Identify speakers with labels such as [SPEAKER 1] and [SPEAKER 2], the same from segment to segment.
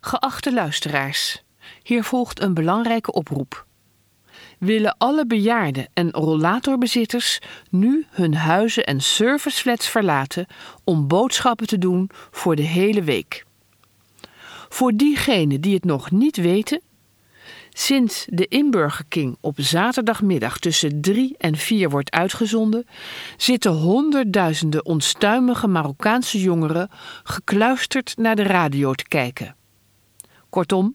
[SPEAKER 1] Geachte luisteraars, hier volgt een belangrijke oproep. Willen alle bejaarden en rollatorbezitters nu hun huizen en serviceflats verlaten om boodschappen te doen voor de hele week? Voor diegenen die het nog niet weten, sinds de inburgerking op zaterdagmiddag tussen 3 en 4 wordt uitgezonden, zitten honderdduizenden onstuimige Marokkaanse jongeren gekluisterd naar de radio te kijken. Kortom,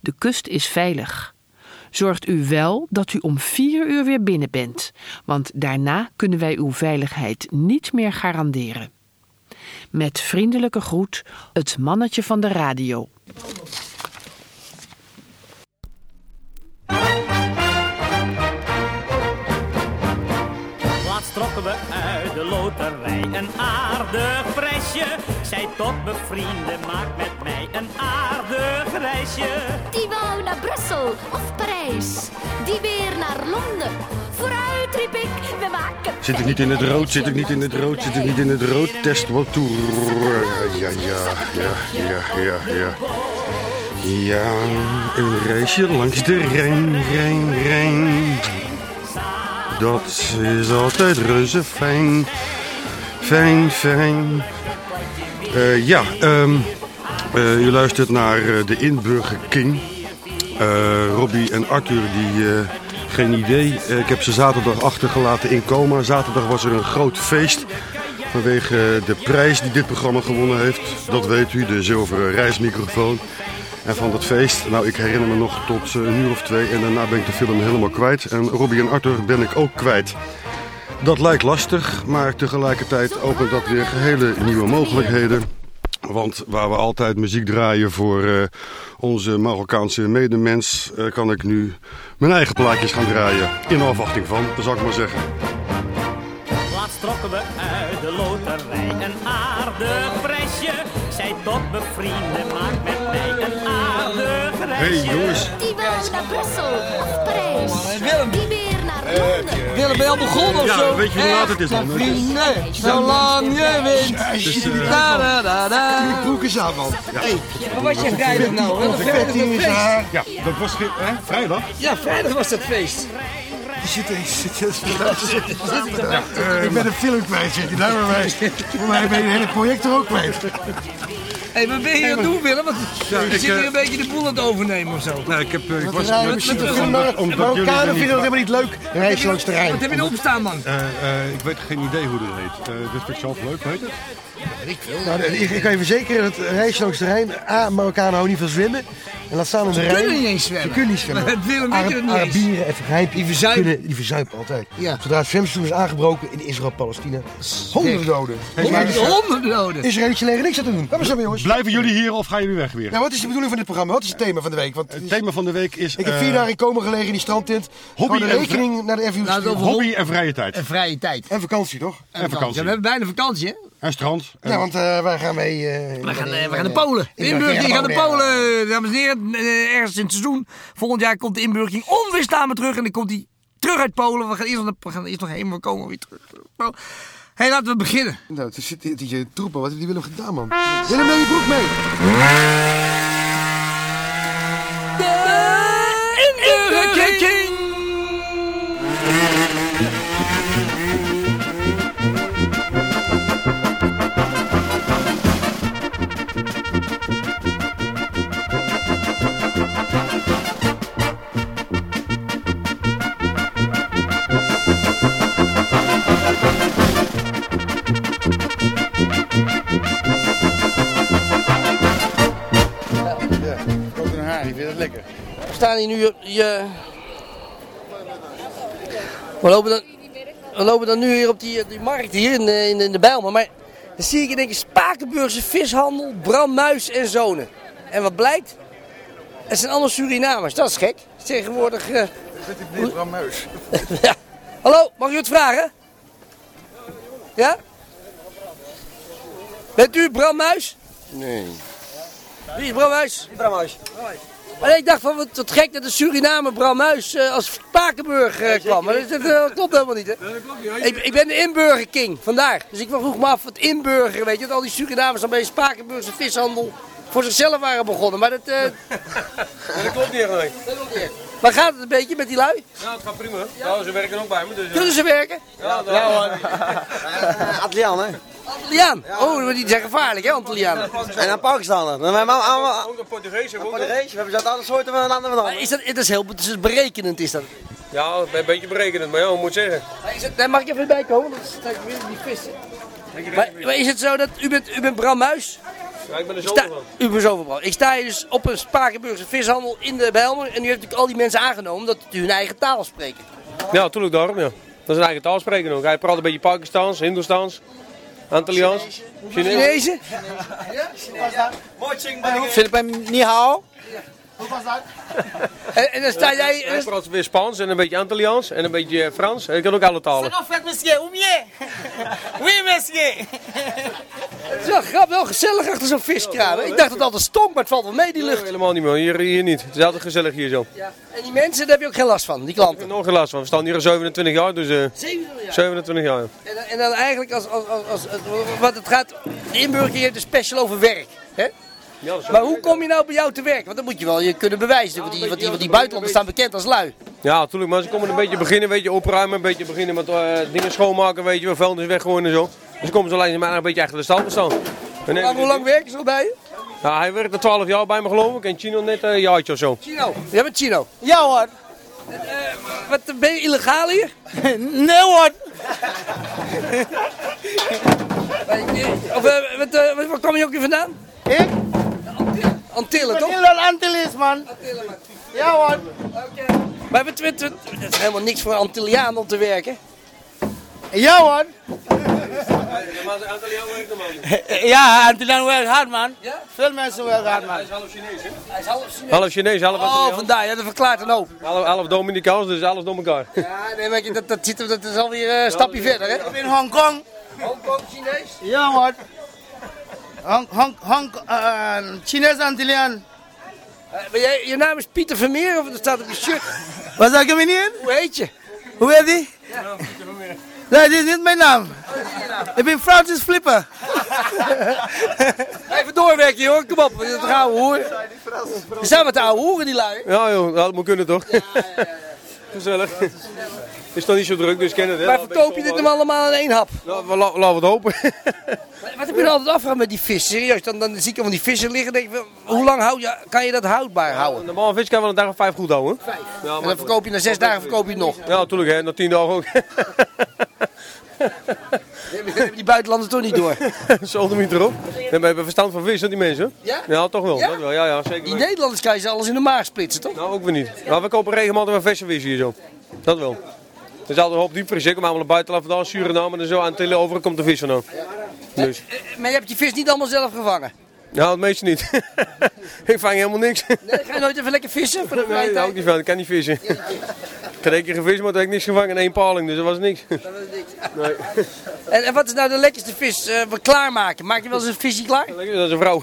[SPEAKER 1] de kust is veilig. Zorgt u wel dat u om vier uur weer binnen bent, want daarna kunnen wij uw veiligheid niet meer garanderen. Met vriendelijke groet, het mannetje van de radio.
[SPEAKER 2] Laatst trokken we uit de loterij een aardig prijsje. Zij tot mijn vrienden, maak met mij een aardig reisje.
[SPEAKER 3] Die wou naar Brussel of Parijs. Die weer naar Londen. Vooruit, riep ik, we maken
[SPEAKER 4] Zit ik niet in het
[SPEAKER 3] tijd.
[SPEAKER 4] rood, zit ik niet in het rood, zit ik niet in het rood. Test wat toer. Ja, ja, ja, ja, ja, ja. Ja, een reisje langs de Rijn, Rijn, Rijn. Dat is altijd reuze fijn. Fijn, fijn. Eh, ja, ehm, eh, u luistert naar eh, de Inburger King. Eh, Robbie en Arthur, die, eh, geen idee. Eh, ik heb ze zaterdag achtergelaten in coma. Zaterdag was er een groot feest. Vanwege eh, de prijs die dit programma gewonnen heeft. Dat weet u, de zilveren reismicrofoon. En van dat feest, nou ik herinner me nog tot eh, een uur of twee. En daarna ben ik de film helemaal kwijt. En Robbie en Arthur ben ik ook kwijt. Dat lijkt lastig, maar tegelijkertijd opent dat weer hele nieuwe mogelijkheden. Want waar we altijd muziek draaien voor eh, onze Marokkaanse medemens, eh, kan ik nu mijn eigen plaatjes gaan draaien. In afwachting van, zal ik maar zeggen.
[SPEAKER 2] Laatst trokken we uit de loterij een aardig prijsje. Zij tot mijn vrienden, maak met mij een aardig
[SPEAKER 4] Hé
[SPEAKER 2] reisje.
[SPEAKER 4] hey, jongens,
[SPEAKER 3] Die wou naar Brussel of Parijs.
[SPEAKER 5] Willem.
[SPEAKER 3] Die weer naar Londen.
[SPEAKER 5] Willem, ben je al begonnen of
[SPEAKER 4] Ja,
[SPEAKER 5] zo?
[SPEAKER 4] weet je hoe laat het is,
[SPEAKER 5] Echte
[SPEAKER 4] man?
[SPEAKER 5] vrienden, zolang je wint.
[SPEAKER 4] het is, eh,
[SPEAKER 5] Da-da-da-da.
[SPEAKER 6] Broek is aan, man. Ja.
[SPEAKER 5] Wat was je vrijdag nou? Wat een vrijdag
[SPEAKER 6] Ketting in
[SPEAKER 5] dat
[SPEAKER 6] zijn
[SPEAKER 5] feest.
[SPEAKER 6] haar.
[SPEAKER 4] ja, dat was ge- hè, vrijdag.
[SPEAKER 5] Ja, vrijdag was dat feest.
[SPEAKER 6] Die zit er- zit- zit- zit- zit- Ik ben een film kwijt, zit je daar maar mee. Voor mij ben je het hele project er ook kwijt.
[SPEAKER 5] Hé, wat ben je aan het doen, Willem? Want
[SPEAKER 4] ik,
[SPEAKER 5] je zit hier
[SPEAKER 4] eh,
[SPEAKER 5] een beetje de boel aan het overnemen of zo.
[SPEAKER 4] Nou, ik, heb, eh, ik was
[SPEAKER 5] raar,
[SPEAKER 4] met-
[SPEAKER 5] wat is eh, er
[SPEAKER 4] omdat-
[SPEAKER 5] gebeurd?
[SPEAKER 4] omdat
[SPEAKER 6] Marokkanen
[SPEAKER 4] jullie-
[SPEAKER 6] vinden dat helemaal niet leuk. Reis langs de Rijn.
[SPEAKER 5] Wat heb je nou opstaan, man?
[SPEAKER 4] Eh, eh, ik weet geen idee hoe dat heet. Eh, dat vind ik zelf leuk, weet het?
[SPEAKER 6] Nou, ik, ik kan je verzekeren dat reis langs de Rijn... A, Marokkanen houden niet van zwemmen. En laat staan om de Rijn...
[SPEAKER 5] kunnen niet eens zwemmen.
[SPEAKER 6] Ze kunnen niet zwemmen.
[SPEAKER 5] Maar Willem, weet je dat niet eens?
[SPEAKER 6] Arabieren en vergrijpen.
[SPEAKER 5] Die verzuipen.
[SPEAKER 6] kunnen- Die verzuipen altijd.
[SPEAKER 5] Ja.
[SPEAKER 6] Zodra het zwemstoel is aangebroken in Israël-Palestina. Honderden doden. dus-
[SPEAKER 5] Honderd honderden doden.
[SPEAKER 6] Israëlische leger niks aan te doen. Kom maar zwemmen, jongens. eh,
[SPEAKER 4] Blijven jullie hier of gaan jullie weg weer?
[SPEAKER 6] Nou, wat is de bedoeling van dit programma? Wat is het thema van de week? Want
[SPEAKER 4] Het thema van de week is
[SPEAKER 6] ik heb
[SPEAKER 4] eh,
[SPEAKER 6] vier dagen in coma gelegen in die strandtint. Gewoon de
[SPEAKER 4] en-
[SPEAKER 6] rekening naar de FU
[SPEAKER 5] Nou, dat
[SPEAKER 6] gestuurd.
[SPEAKER 5] was-
[SPEAKER 4] hobby en vrije tijd.
[SPEAKER 5] En vrije tijd.
[SPEAKER 6] En vakantie, toch?
[SPEAKER 4] En
[SPEAKER 5] Ja, we
[SPEAKER 4] vakantie.
[SPEAKER 5] hebben bijna vakantie, hè?
[SPEAKER 4] En strand. En-
[SPEAKER 6] Ja, want eh, wij gaan mee... eh,
[SPEAKER 5] We gaan, eh,
[SPEAKER 6] mee-
[SPEAKER 5] we gaan naar Polen. De
[SPEAKER 6] Ik dacht,
[SPEAKER 5] inburgering
[SPEAKER 6] ja,
[SPEAKER 5] gaat naar
[SPEAKER 6] ja.
[SPEAKER 5] Polen, dames en heren. Eh, Ergens in het seizoen. Volgend jaar komt de inburgering onweerstaanbaar terug. En dan komt hij terug uit Polen. We gaan eerst nog, naar- we gaan eerst nog heen, maar we komen weer terug. Hé, hey, laten we beginnen.
[SPEAKER 6] Nou, er zit hier die troepen. Wat heeft die Willem gedaan, man? Willem, neem je broek mee.
[SPEAKER 5] De inburgering!
[SPEAKER 7] We staan hier nu. eh, Je... We, lopen dan, we lopen dan nu hier op die, eh, die markt hier in, de- in, de- in de Bijlmer. Maar dan zie ik in één keer Spakenburgse vishandel, Bram Muis en zonen. En wat blijkt? Het zijn allemaal Surinamers. Dat is gek. Tegenwoordig. eh,
[SPEAKER 6] Bram Muis.
[SPEAKER 7] ja. Hallo, mag u het vragen? Ja? Bent u Bram Muis? Nee. Wie is Bram Muis? Bram Muis. Maar ik dacht van wat, wat gek dat de Suriname Bram Muis eh, als Spakenburg eh, kwam. Maar dat, dat, eh, klopt helemaal niet, hè? Ik, ik ben de inburgerking, vandaar. Dus ik vroeg me af, wat inburger, weet je, dat al die Surinamers dan bij de Spakenburgse vishandel voor zichzelf waren begonnen. Maar dat, eh,
[SPEAKER 8] Dat klopt niet eigenlijk.
[SPEAKER 7] dat loopt niet echt. Maar gaat het een beetje met die lui?
[SPEAKER 8] Ja, het gaat prima. Nou, ze werken ook bij me, dus... eh,
[SPEAKER 7] Kunnen ze werken?
[SPEAKER 8] Ja, nou,
[SPEAKER 3] Eh, Adlian, hè?
[SPEAKER 7] Antilliaan. Oh, maar die zijn gevaarlijk hè, Antillianen.
[SPEAKER 3] En aan Pakistanen. Dan hebben we allemaal...
[SPEAKER 8] ook een Portugees heb ik ook.
[SPEAKER 3] Voor de
[SPEAKER 8] nog.
[SPEAKER 3] race, we hebben ze uit alle soorten van landen van
[SPEAKER 7] Maar Is dat, dat is heel dat is berekenend is dat.
[SPEAKER 8] Ja, ik ben een beetje berekenend, maar ja, ik moet zeggen.
[SPEAKER 7] Maar Is het, nee, mag ik even erbij komen? Want Dan sta ik weer in die vissen. Maar, maar is het zo dat u bent, u bent Bram Muis?
[SPEAKER 8] Ja, ik ben er zo
[SPEAKER 7] Ik sta-
[SPEAKER 8] van.
[SPEAKER 7] u bent zoveel Bram. Ik sta hier dus op een Spakenburgse vishandel in de Bijlmer. En u heeft natuurlijk al die mensen aangenomen dat u hun eigen taal spreken.
[SPEAKER 8] Ja, natuurlijk daarom, ja. Dat is een eigen taal spreken ook. Hij praat een beetje Pakistaans, Hindoestaans, Antilliaans, Chinees.
[SPEAKER 7] Chinezen?
[SPEAKER 3] Philip en Nihao.
[SPEAKER 7] En, en dan sta jij... en
[SPEAKER 8] Hij
[SPEAKER 7] dan-
[SPEAKER 8] praat weer Spaans en een beetje Antilliaans en een beetje eh, Frans. Hij kan ook alle talen.
[SPEAKER 7] Het is wel grappig, wel gezellig achter zo'n viskraam. hè? Ik dacht dat het altijd stonk, maar het valt wel mee, die
[SPEAKER 8] Ja,
[SPEAKER 7] lucht.
[SPEAKER 8] Helemaal niet meer, hier, hier niet. Het is altijd gezellig hier zo. Ik
[SPEAKER 7] En die mensen, daar heb je ook geen last van, die klanten.
[SPEAKER 8] heb nog geen last van. We staan hier al 27 jaar, dus eh,
[SPEAKER 7] 700 jaar.
[SPEAKER 8] 27 jaar.
[SPEAKER 7] En, dan- en dan eigenlijk als... als, als, als, als- want het gaat... De inburgering heeft een special over werk. Hè?
[SPEAKER 8] Ja, dat is
[SPEAKER 7] Maar hoe kom je nou bij jou te werken? Want dan moet je wel je kunnen bewijzen. Want die, want die, want die buitenlanders staan bekend als lui.
[SPEAKER 8] Ja, natuurlijk, maar ze komen een beetje beginnen, weet je, opruimen, een beetje beginnen met eh, dingen schoonmaken, weet je, wel, vuilnis weggooien en zo. Dus komen ze alleen maar een beetje achter de stand te staan. En
[SPEAKER 7] Maar hoe lang werken ze al bij je?
[SPEAKER 8] Ja, hij werkt er 12 jaar bij me, geloof ik, en Chino net eh, een jaartje of zo.
[SPEAKER 7] Chino. Jij bent Chino.
[SPEAKER 3] Ja hoor.
[SPEAKER 7] Wat, ben je illegaal hier?
[SPEAKER 3] Nee hoor.
[SPEAKER 7] Of eh, wat, eh, wat- waar kom je ook weer vandaan?
[SPEAKER 3] Ik?
[SPEAKER 7] Antillen, toch?
[SPEAKER 3] Nederland Antilles, man. Ja hoor.
[SPEAKER 7] Maar wat, wat, wat- dat is helemaal niks voor een Antilliaan om te werken.
[SPEAKER 3] Ja hoor.
[SPEAKER 8] Maar een aantal jaar werkt normaal
[SPEAKER 3] Ja, Antillian werkt hard, man.
[SPEAKER 7] Ja?
[SPEAKER 3] Veel mensen werken hard, man.
[SPEAKER 8] is half Chinees, hè?
[SPEAKER 7] Hij is half Chinees.
[SPEAKER 8] Half Chinees, half
[SPEAKER 7] Oh,
[SPEAKER 8] Antilliaans,
[SPEAKER 7] vandaar. Ja, dat verklaart een hoop.
[SPEAKER 8] half, half Dominicaans, dus alles door elkaar.
[SPEAKER 7] Ja, nee, maar dat, dat, zit, dat is alweer eh, een stapje verder, hè?
[SPEAKER 3] Ik ben in Hongkong.
[SPEAKER 7] Hongkong, Chinees.
[SPEAKER 3] Ja hoor. Hong, Hong, Hong, eh, Chinees Antillian.
[SPEAKER 7] Eh, maar jij, je naam is Pieter Vermeer, of dat staat op je shirt.
[SPEAKER 3] Wat zeg je meneer?
[SPEAKER 7] Hoe heet je?
[SPEAKER 3] Hoe heet die? Nee, dit is niet mijn naam. Ik ben Francis Flipper.
[SPEAKER 7] Even doorwerken, joh. Kom op, dat gaan we horen. We zijn met de oude hoeren, die lui.
[SPEAKER 8] Ja joh, dat moet kunnen toch? Gezellig. Is toch niet zo druk, dus kennen het. hè?
[SPEAKER 7] Maar verkoop je dit hem allemaal in één hap?
[SPEAKER 8] Laten we- laten we het hopen.
[SPEAKER 7] Wat heb je nou altijd afgehad met die vissen? Serieus, dan, dan zie ik van die vissen liggen en denk ik, van, hoe lang hou je, kan je dat houdbaar houden?
[SPEAKER 8] Normaal een vis kan wel een dag of vijf goed houden. Vijf. Ja,
[SPEAKER 7] En dan verkoop je na zes dagen Dus verkoop je het nog.
[SPEAKER 8] Ja, natuurlijk hè, na tien dagen ook.
[SPEAKER 7] Dat hebben die buitenlanders toch niet door.
[SPEAKER 8] Zoldermiet erop. We hebben verstand van vis, hè, die mensen?
[SPEAKER 7] Ja?
[SPEAKER 8] toch wel.
[SPEAKER 7] Ja?
[SPEAKER 8] Dat wel. Ja, ja, zeker
[SPEAKER 7] Die
[SPEAKER 8] weten.
[SPEAKER 7] Nederlanders kan je ze alles in de maag splitsen, toch?
[SPEAKER 8] Nou, ook weer niet. Maar we kopen regelmatig wel vissenvis hier zo. Dat wel. Er is altijd een hoop diepvries. Ik kom allemaal naar buitenland vandaan, Suriname en zo. Aan tillen over komt de vis vandaan. Dus,
[SPEAKER 7] Eh, Maar je hebt je vis niet allemaal zelf gevangen.
[SPEAKER 8] nou, het meeste niet. ik vang helemaal niks.
[SPEAKER 7] Nee, ga je nooit even lekker vissen voor de vrije
[SPEAKER 8] Nee, daar hou ik niet
[SPEAKER 7] tijd?
[SPEAKER 8] van. Ik kan niet vissen. Ik heb één keer gevist, maar toen heb ik niks gevangen. En één paling, dus dat was niks. Nee.
[SPEAKER 7] En, en wat is nou de lekkerste vis eh, we klaarmaken? Maak je wel eens een visje klaar?
[SPEAKER 8] Lekker, Dat is een vrouw.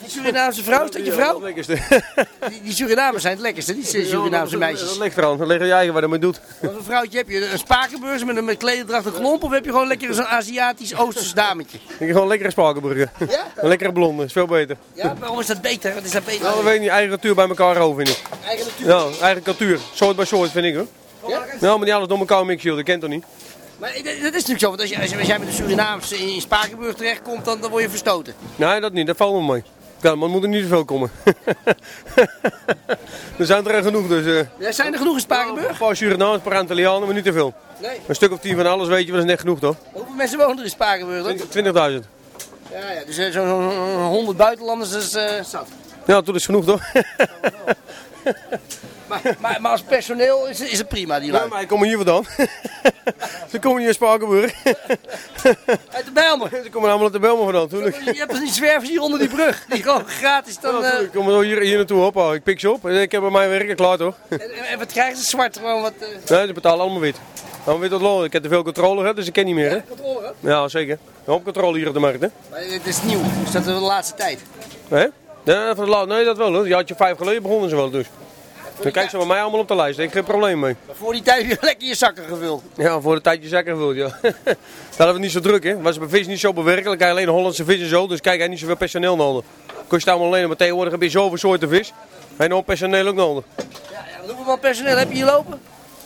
[SPEAKER 7] Die Surinaamse vrouw, is dat je vrouw?
[SPEAKER 8] Dat is het lekkerste.
[SPEAKER 7] Die, die Surinamers zijn het lekkerste, die Surinaamse meisjes.
[SPEAKER 8] Dat ligt eraan. Dat ligt aan je eigen wat je mee doet.
[SPEAKER 7] Wat voor vrouwtje heb je? Een spakenbeurs met een met klededracht en klomp? Of heb je gewoon lekker zo'n Aziatisch-Oosters dametje?
[SPEAKER 8] Ik heb gewoon lekkere spakenburger.
[SPEAKER 7] Ja?
[SPEAKER 8] Een lekkere blonde. Is veel beter.
[SPEAKER 7] Ja, waarom is dat beter? Wat is dat beter?
[SPEAKER 8] Nou, we weten niet. Eigen cultuur bij elkaar over, vind ik.
[SPEAKER 7] Eigen natuur.
[SPEAKER 8] Ja, eigen cultuur. Soort bij soort, vind ik hoor. Nou, maar niet alles door elkaar mixen, joh. Dat kent toch niet?
[SPEAKER 7] Maar dat dat is natuurlijk zo, want als, je, als, je- als jij met de Surinaamse in, in Spakenburg terechtkomt, dan, dan word je verstoten.
[SPEAKER 8] Nee, dat niet. Dat valt me mee. Ja, maar moet er niet zoveel komen. er zijn er echt genoeg, dus... eh,
[SPEAKER 7] Ja, zijn er genoeg in Spakenburg?
[SPEAKER 8] een paar Surinamers, een paar Antillianen, maar niet te veel.
[SPEAKER 7] Nee.
[SPEAKER 8] Een stuk of tien van alles, weet je, maar dat is net genoeg, toch?
[SPEAKER 7] Hoeveel mensen wonen er in Spakenburg? dan?
[SPEAKER 8] 20.000.
[SPEAKER 7] Ja, ja, dus eh, zo'n zo'n 100 buitenlanders is eh, zat.
[SPEAKER 8] Ja, toen is genoeg, toch?
[SPEAKER 7] Maar, maar, maar als personeel is, is het prima, die
[SPEAKER 8] Ja,
[SPEAKER 7] lui.
[SPEAKER 8] maar ik kom hier vandaan. Ze komen hier in Spakenburg.
[SPEAKER 7] Uit de Bijlmer.
[SPEAKER 8] Ze komen allemaal uit de Belmen vandaan, natuurlijk.
[SPEAKER 7] Je hebt dus die zwervers hier onder die brug, die gewoon gratis
[SPEAKER 8] Ja,
[SPEAKER 7] dan... eh,
[SPEAKER 8] natuurlijk. Kom maar hier, hier naartoe, hoppa. Ik pik ze op. Eh, Ik heb bij mijn werken klaar, toch?
[SPEAKER 7] en, en wat krijgen ze zwart? Gewoon wat... eh,
[SPEAKER 8] Nee, ze betalen allemaal wit. Allemaal wit tot lol. Ik heb te veel controle gehad, dus ik ken niet meer, hè?
[SPEAKER 7] controle, hè?
[SPEAKER 8] Ja, zeker. Een hoop controle hier op de markt, hè?
[SPEAKER 7] Maar het is nieuw, dus dat is de laatste tijd.
[SPEAKER 8] Hè? Nee, dat, nee, dat wel, hoor. Je had je vijf geleden begonnen ze wel, dus. Dan kijk ze bij mij allemaal op de lijst. Daar heb ik geen probleem mee.
[SPEAKER 7] Voor die tijd weer lekker je zakken gevuld.
[SPEAKER 8] Ja, voor de tijdje zakken wil ja. Daar hebben we niet zo druk, hè. Was bij vis niet zo bewerkelijk. Hij alleen Hollandse vis en zo. Dus kijk, hij niet zoveel personeel nodig. Kost allemaal alleen, maar tegenwoordig heb je zoveel soorten vis. En nog personeel ook nodig.
[SPEAKER 7] Hoeveel man personeel heb je hier lopen?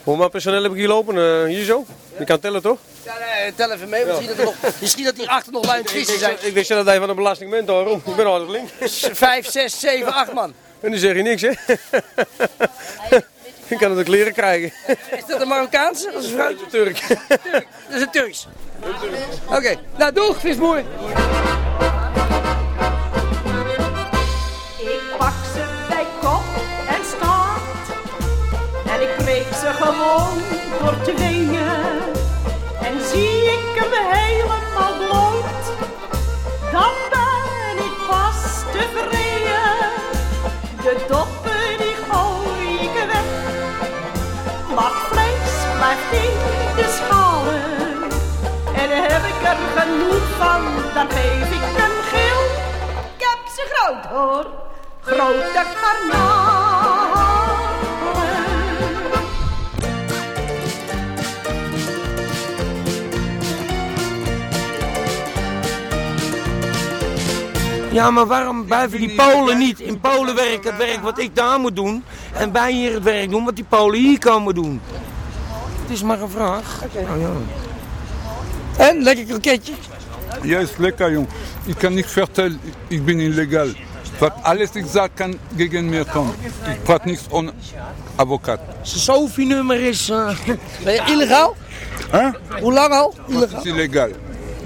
[SPEAKER 8] Hoeveel personeel heb ik hier lopen? Eh, hier zo? Je kan tellen, toch?
[SPEAKER 7] Ja, nee, tel even mee. Misschien, dat er nog, misschien dat die achter nog lijn vissen zijn.
[SPEAKER 8] Ik wist dat hij van de belastingment hoor. Ik ben harder link.
[SPEAKER 7] Vijf, zes, zeven, acht man.
[SPEAKER 8] En dan zeg je niks, hè? Ik kan het ook leren krijgen.
[SPEAKER 7] Is dat een Marokkaanse? Dat is een vrouwtje.
[SPEAKER 8] Turk.
[SPEAKER 7] Dat is een Turks. Oké, nou doeg, visboer.
[SPEAKER 3] Ik pak ze bij kop en staart. En ik breek ze gewoon door tweeën. En zie ik hem helemaal bloot. Dan ben ik vast tevreden. De doppen die gooi ik weg. Maar het vlees blijft in de schalen. En heb ik er genoeg van, dan geef ik een geel. Ik heb ze groot hoor, grote garnalen.
[SPEAKER 9] Ja, maar waarom blijven die Polen niet? In Polen werkt het werk wat ik daar moet doen. En wij hier het werk doen wat die Polen hier komen doen. Het is maar een vraag. Oh,
[SPEAKER 7] Ah, En, lekker kroketje.
[SPEAKER 10] Ja, ist lecker, Jung. Ich kann nicht vertellen, ich bin illegal. Was alles ich sage, kann gegen mir kommen. Ich praat nichts ohne Advokat.
[SPEAKER 9] Zijn Sophie-nummer is... eh,
[SPEAKER 7] Ben je illegaal?
[SPEAKER 10] Hè?
[SPEAKER 7] Hoe lang al?
[SPEAKER 10] Was
[SPEAKER 7] Illegaal.
[SPEAKER 10] ist illegal?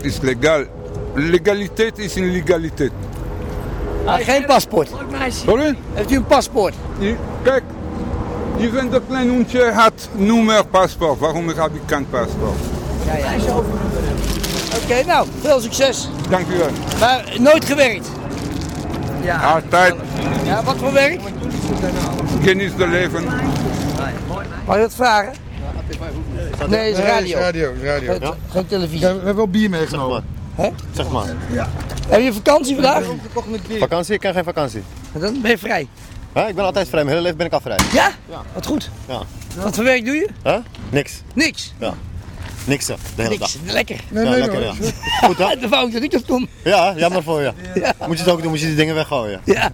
[SPEAKER 10] Ist legal. Legalität ist in Legalität.
[SPEAKER 7] Maar Ah, geen paspoort.
[SPEAKER 10] Sorry?
[SPEAKER 7] Heeft u een paspoort?
[SPEAKER 10] Hier, Kijk, hier wenn der kleine Hündchen hat Nummer Passport. Warum habe ich kein Passport?
[SPEAKER 7] Ja, ja. Oké, nou, veel succes.
[SPEAKER 10] Danke.
[SPEAKER 7] Maar nooit gewerkt.
[SPEAKER 10] Altijd
[SPEAKER 7] Ja, wat voor werk?
[SPEAKER 10] geniet de leven.
[SPEAKER 7] Mag je dat vragen? Nee, het is radio.
[SPEAKER 11] Radio, radio.
[SPEAKER 7] Het- Geen
[SPEAKER 11] Ja,
[SPEAKER 7] televisie.
[SPEAKER 11] we hebben wel bier meegenomen.
[SPEAKER 12] Zeg maar.
[SPEAKER 7] Heb je vakantie vandaag?
[SPEAKER 12] Vakantie? Ik ken geen vakantie.
[SPEAKER 7] Dan ben je vrij.
[SPEAKER 12] Hè? Ik ben altijd vrij. Mijn hele leven ben ik afvrij.
[SPEAKER 7] Ja? Wat goed.
[SPEAKER 12] Ja.
[SPEAKER 7] Wat voor werk doe je?
[SPEAKER 12] Hè? Niks.
[SPEAKER 7] Niks.
[SPEAKER 12] Niks. hè, De hele
[SPEAKER 7] Niks.
[SPEAKER 12] dag.
[SPEAKER 7] Lekker.
[SPEAKER 11] Nee,
[SPEAKER 12] ja,
[SPEAKER 11] nee,
[SPEAKER 12] lekker,
[SPEAKER 11] hoor.
[SPEAKER 12] ja. Goed, hè?
[SPEAKER 7] De fout dat ik dat kom.
[SPEAKER 12] Ja, jammer voor je. Moet je het ook doen, moet je die dingen weggooien.
[SPEAKER 7] Ja.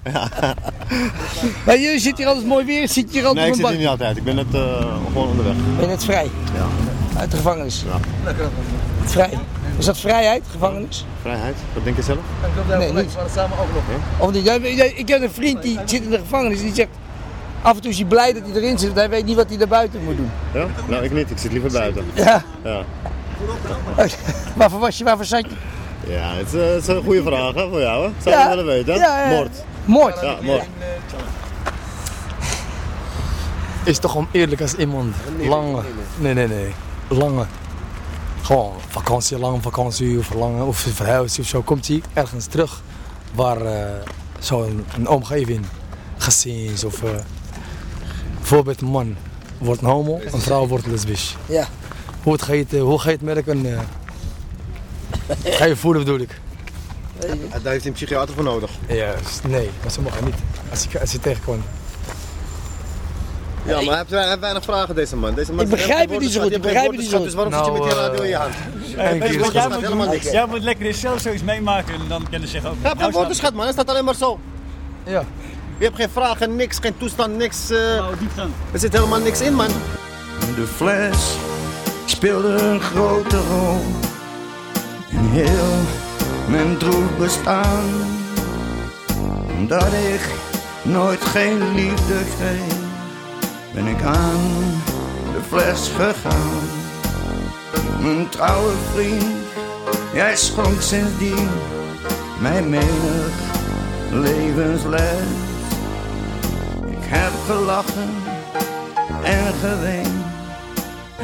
[SPEAKER 7] Maar jullie zitten hier altijd mooi weer. Zit hier
[SPEAKER 12] Nee, ik
[SPEAKER 7] altijd op een
[SPEAKER 12] zit
[SPEAKER 7] bank.
[SPEAKER 12] hier niet altijd. Ik ben net eh, gewoon onderweg.
[SPEAKER 7] Ben je net vrij? Ja. Uit de gevangenis? Ja. Vrij. Is dat vrijheid, gevangenis?
[SPEAKER 12] Vrijheid, dat denk je zelf?
[SPEAKER 7] Nee, niet. Of niet? Jij- jij- Ik heb een vriend die zit in de gevangenis die zegt... Af en toe is hij blij dat hij erin zit, want hij weet niet wat hij daar buiten moet doen.
[SPEAKER 12] Ja? Nou, ik niet. Ik zit liever buiten.
[SPEAKER 7] Ja. Oh,
[SPEAKER 12] Ja,
[SPEAKER 7] Waarvoor was je, waarvoor zat je?
[SPEAKER 12] ja het, is, eh, het is een goede vraag hè, voor jou. Hè? Zou
[SPEAKER 7] Ja.
[SPEAKER 12] je willen weten? Hè?
[SPEAKER 7] Ja, ja, ja.
[SPEAKER 12] Moord.
[SPEAKER 7] Moord.
[SPEAKER 12] Ja, moord.
[SPEAKER 13] is toch oneerlijk als iemand lange. Nee, nee, nee. Lange. Gewoon vakantie, lange vakantie of lange of verhuis of zo. Komt hij ergens terug waar eh, zo'n een omgeving, gezins of. eh, bijvoorbeeld, een man wordt een homo, een vrouw wordt lesbisch.
[SPEAKER 7] Ja.
[SPEAKER 13] Hoe, het ga je het, eh, hoe ga je het merken? eh, ga je voelen bedoel ik?
[SPEAKER 12] Daar heeft hij een psychiater voor nodig.
[SPEAKER 13] Juist, nee, maar sommigen niet. Als ik, als je tegenkomt.
[SPEAKER 12] Ja, maar hij heeft, hij heeft weinig vragen, deze man. Deze man
[SPEAKER 7] Ik begrijp het niet zo goed, ik begrijp het niet zo
[SPEAKER 12] Dus waarom zit je
[SPEAKER 13] goed.
[SPEAKER 12] met die
[SPEAKER 13] Nou,
[SPEAKER 12] radio in je hand?
[SPEAKER 14] eh,
[SPEAKER 13] Eén keer is
[SPEAKER 12] Er
[SPEAKER 13] goed.
[SPEAKER 12] staat helemaal niks.
[SPEAKER 14] Jij moet lekker eens zelf zoiets meemaken en dan kunnen ze zeggen ook. Nou,
[SPEAKER 12] Hij
[SPEAKER 7] Nou,
[SPEAKER 12] heeft geen woordenschat, man. Hij staat alleen maar zo.
[SPEAKER 13] Ja.
[SPEAKER 12] Je hebt geen vragen, niks, geen toestand, niks. eh, er zit helemaal niks in, man.
[SPEAKER 15] De fles speelde een grote rol in heel mijn droef bestaan. Omdat ik nooit geen liefde kreeg, ben ik aan de fles gegaan. Mijn trouwe vriend, jij schonk sindsdien mijn menig levensles. Ik heb gelachen en geween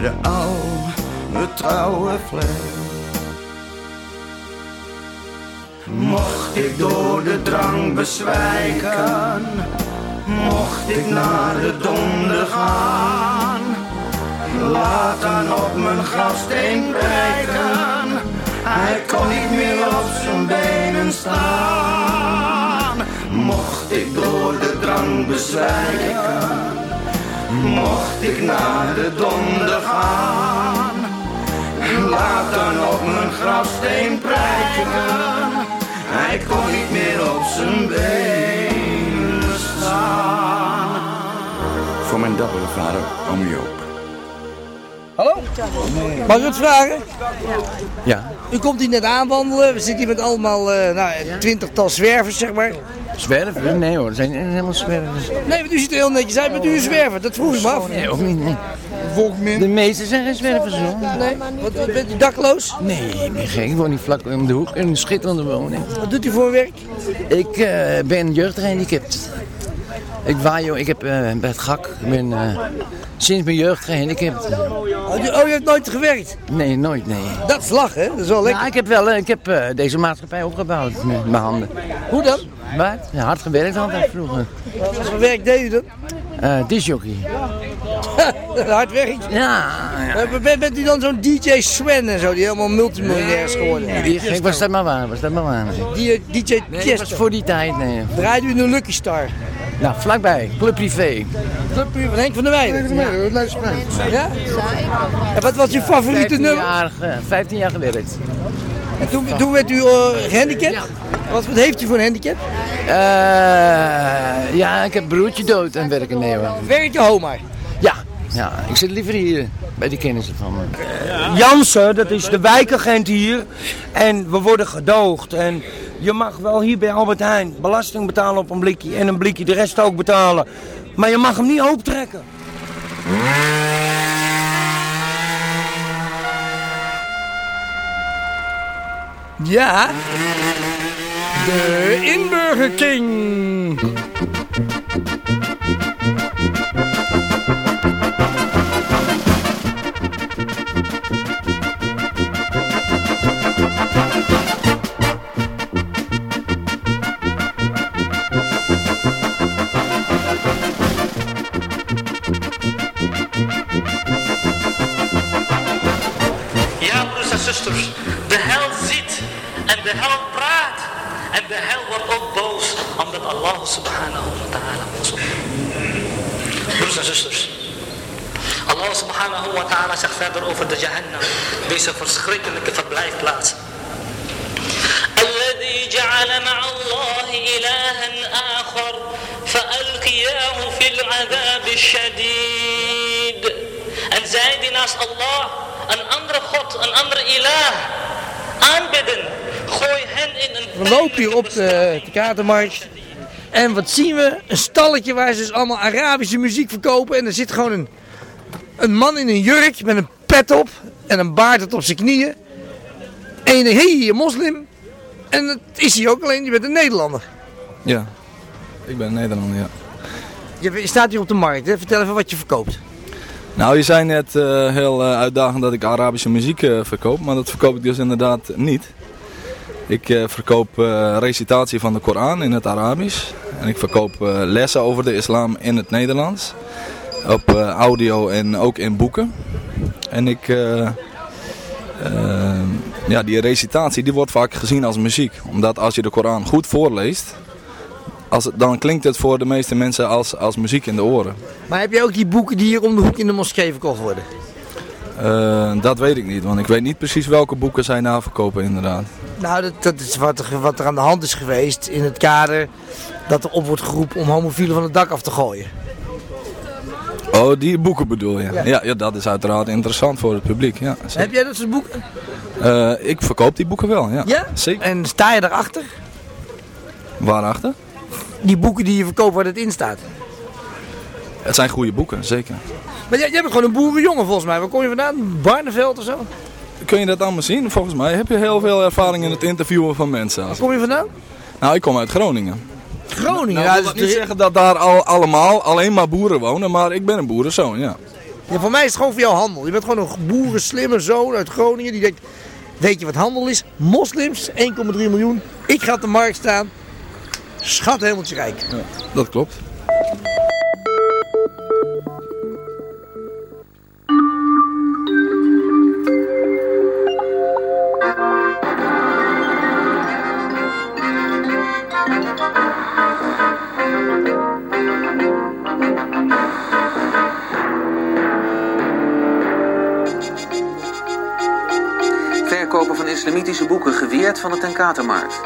[SPEAKER 15] de oude trouwe fles. Mocht ik door de drang bezwijken, mocht ik naar de donder gaan, laat dan op mijn grafsteen breken. Hij kon niet meer op zijn benen staan. Mocht ik door de drang bezwijken, Mocht ik naar de donder gaan, laat dan op mijn grafsteen prijken. Hij kon niet meer op zijn benen staan.
[SPEAKER 16] Voor mijn dappere vader, oom Joop.
[SPEAKER 7] Hallo? Mag ik het vragen?
[SPEAKER 16] Ja,
[SPEAKER 7] U komt hier net aanwandelen. We zitten hier met allemaal eh nou, twintigtal zwervers, zeg maar.
[SPEAKER 16] zwerven? Nee hoor, er zijn helemaal zwervers.
[SPEAKER 7] Nee, want u ziet er heel netjes uit, maar u is zwerver. Dat vroeg ik me af.
[SPEAKER 16] Nee, ook niet, nee. De meesten zijn geen zwervers hoor.
[SPEAKER 7] Nee? Wat, wat, bent u dakloos?
[SPEAKER 16] Nee, ik ben gek. Ik woon niet vlak om de hoek in een schitterende woning.
[SPEAKER 7] Wat doet u voor werk?
[SPEAKER 16] Ik eh, ben jeugdgehandicapt. Ik waai, joh, ik heb eh, bij het gak. Ik ben eh, sinds mijn jeugd gehandicapt.
[SPEAKER 7] Oh, je oh, je hebt nooit gewerkt?
[SPEAKER 16] Nee, nooit, nee.
[SPEAKER 7] Dat is lachen, hè? Dat is wel lekker.
[SPEAKER 16] Nou, ik heb wel, eh, ik heb eh, deze maatschappij opgebouwd met mijn handen.
[SPEAKER 7] Hoe dan?
[SPEAKER 16] Waar? Ja, hard gewerkt altijd vroeger.
[SPEAKER 7] Wat voor werk deed u dan?
[SPEAKER 16] Eh disjockey.
[SPEAKER 7] Hard werk?
[SPEAKER 16] Ja.
[SPEAKER 7] Maar ben- Bent u dan zo'n DJ Sven en zo, die helemaal multimiljonair is geworden?
[SPEAKER 16] Die gek was dat maar waar, was dat maar waar.
[SPEAKER 7] Die, eh, DJ
[SPEAKER 16] Nee,
[SPEAKER 7] Chester.
[SPEAKER 16] dat was voor die tijd, nee.
[SPEAKER 7] Draaide u een Lucky Star?
[SPEAKER 16] Nou, vlakbij, Club Privé.
[SPEAKER 7] Club van Henk van der Weijden.
[SPEAKER 16] Henk van der Weijden,
[SPEAKER 7] leuk gesprek. Ja? En wat was uw favoriete
[SPEAKER 16] 15
[SPEAKER 7] nummer?
[SPEAKER 16] Jaar, eh, 15 jaar gewerkt.
[SPEAKER 7] En Toen, toen werd u eh, gehandicapt? Wat, wat heeft u voor een handicap?
[SPEAKER 16] Eh, ja, ik heb broertje dood en werken nee hoor.
[SPEAKER 7] Werk je homaar?
[SPEAKER 16] Ja, ja, ik zit liever hier bij die kennissen van me.
[SPEAKER 17] Jansen, dat is de wijkagent hier. En we worden gedoogd. En je mag wel hier bij Albert Heijn belasting betalen op een blikje. En een blikje de rest ook betalen. Maar je mag hem niet optrekken.
[SPEAKER 7] Ja. De Inburger King.
[SPEAKER 18] Ja, broers en zusters, de hel ziet en de hel praat. En de hel wordt ook boos, omdat Allah subhanahu wa ta'ala boos wordt. Broers en zusters, Allah subhanahu wa ta'ala zegt verder over de jahannam, deze verschrikkelijke verblijfplaats. الذي جعل مع الله إلها آخر فألقياه في العذاب الشديد En zij die naast Allah een andere God, een andere ilah aanbidden, gooi hen in een
[SPEAKER 7] We lopen hier op de, de Katermarkt. En wat zien we? Een stalletje waar ze dus allemaal Arabische muziek verkopen. En er zit gewoon een, een man in een jurk met een pet op. En een baard tot op zijn knieën. En je denkt, hé, hey, een moslim. En dat is hij ook, alleen je bent een Nederlander.
[SPEAKER 19] Ja, ik ben Nederlander, ja.
[SPEAKER 7] Je staat hier op de markt, hè? vertel even wat je verkoopt.
[SPEAKER 19] Nou, je zei net eh, heel eh, uitdagend dat ik Arabische muziek eh, verkoop, maar dat verkoop ik dus inderdaad niet. Ik eh, verkoop eh, recitatie van de Koran in het Arabisch. En ik verkoop eh, lessen over de islam in het Nederlands. Op eh, audio en ook in boeken. En ik... eh, eh, ja, die recitatie die wordt vaak gezien als muziek. Omdat als je de Koran goed voorleest, als, het- dan klinkt het voor de meeste mensen als, als muziek in de oren.
[SPEAKER 7] Maar heb je ook die boeken die hier om de hoek in de moskee verkocht worden?
[SPEAKER 19] Eh, dat weet ik niet, want ik weet niet precies welke boeken zij na verkopen inderdaad.
[SPEAKER 7] Nou, dat, dat is wat er, wat er aan de hand is geweest in het kader dat er op wordt geroepen om homofielen van het dak af te gooien.
[SPEAKER 19] Oh, die boeken bedoel je?
[SPEAKER 7] Ja.
[SPEAKER 19] Ja, ja, dat is uiteraard interessant voor het publiek, ja. zeker.
[SPEAKER 7] Heb jij dat soort boeken?
[SPEAKER 19] Eh, ik verkoop die boeken wel, ja.
[SPEAKER 7] Ja?
[SPEAKER 19] Zeker.
[SPEAKER 7] En sta je daarachter?
[SPEAKER 19] Waarachter?
[SPEAKER 7] Die boeken die je verkoopt waar het in staat.
[SPEAKER 19] Het zijn goede boeken, zeker.
[SPEAKER 7] Maar jij, jij bent gewoon een boerenjongen volgens mij. Waar kom je vandaan? Barneveld of zo? Waar
[SPEAKER 19] Kun je dat allemaal zien? Volgens mij heb je heel veel ervaring in het interviewen van mensen. als-
[SPEAKER 7] kom je vandaan?
[SPEAKER 19] Nou, ik kom uit Groningen.
[SPEAKER 7] Groningen.
[SPEAKER 19] Nou,
[SPEAKER 7] ja,
[SPEAKER 19] ik
[SPEAKER 7] dat
[SPEAKER 19] wil
[SPEAKER 7] is
[SPEAKER 19] niet
[SPEAKER 7] de-
[SPEAKER 19] zeggen dat daar al, allemaal alleen maar boeren wonen, maar ik ben een boerenzoon, ja.
[SPEAKER 7] ja, voor mij is het gewoon voor jou handel. Je bent gewoon een boerenslimme zoon uit Groningen die denkt... Weet je wat handel is? Moslims, 1,3 miljoen. Ik ga op de markt staan. Schat helemaal te rijk.
[SPEAKER 19] Dat klopt.
[SPEAKER 20] islamitische boeken geweerd van de Tenkatenmarkt.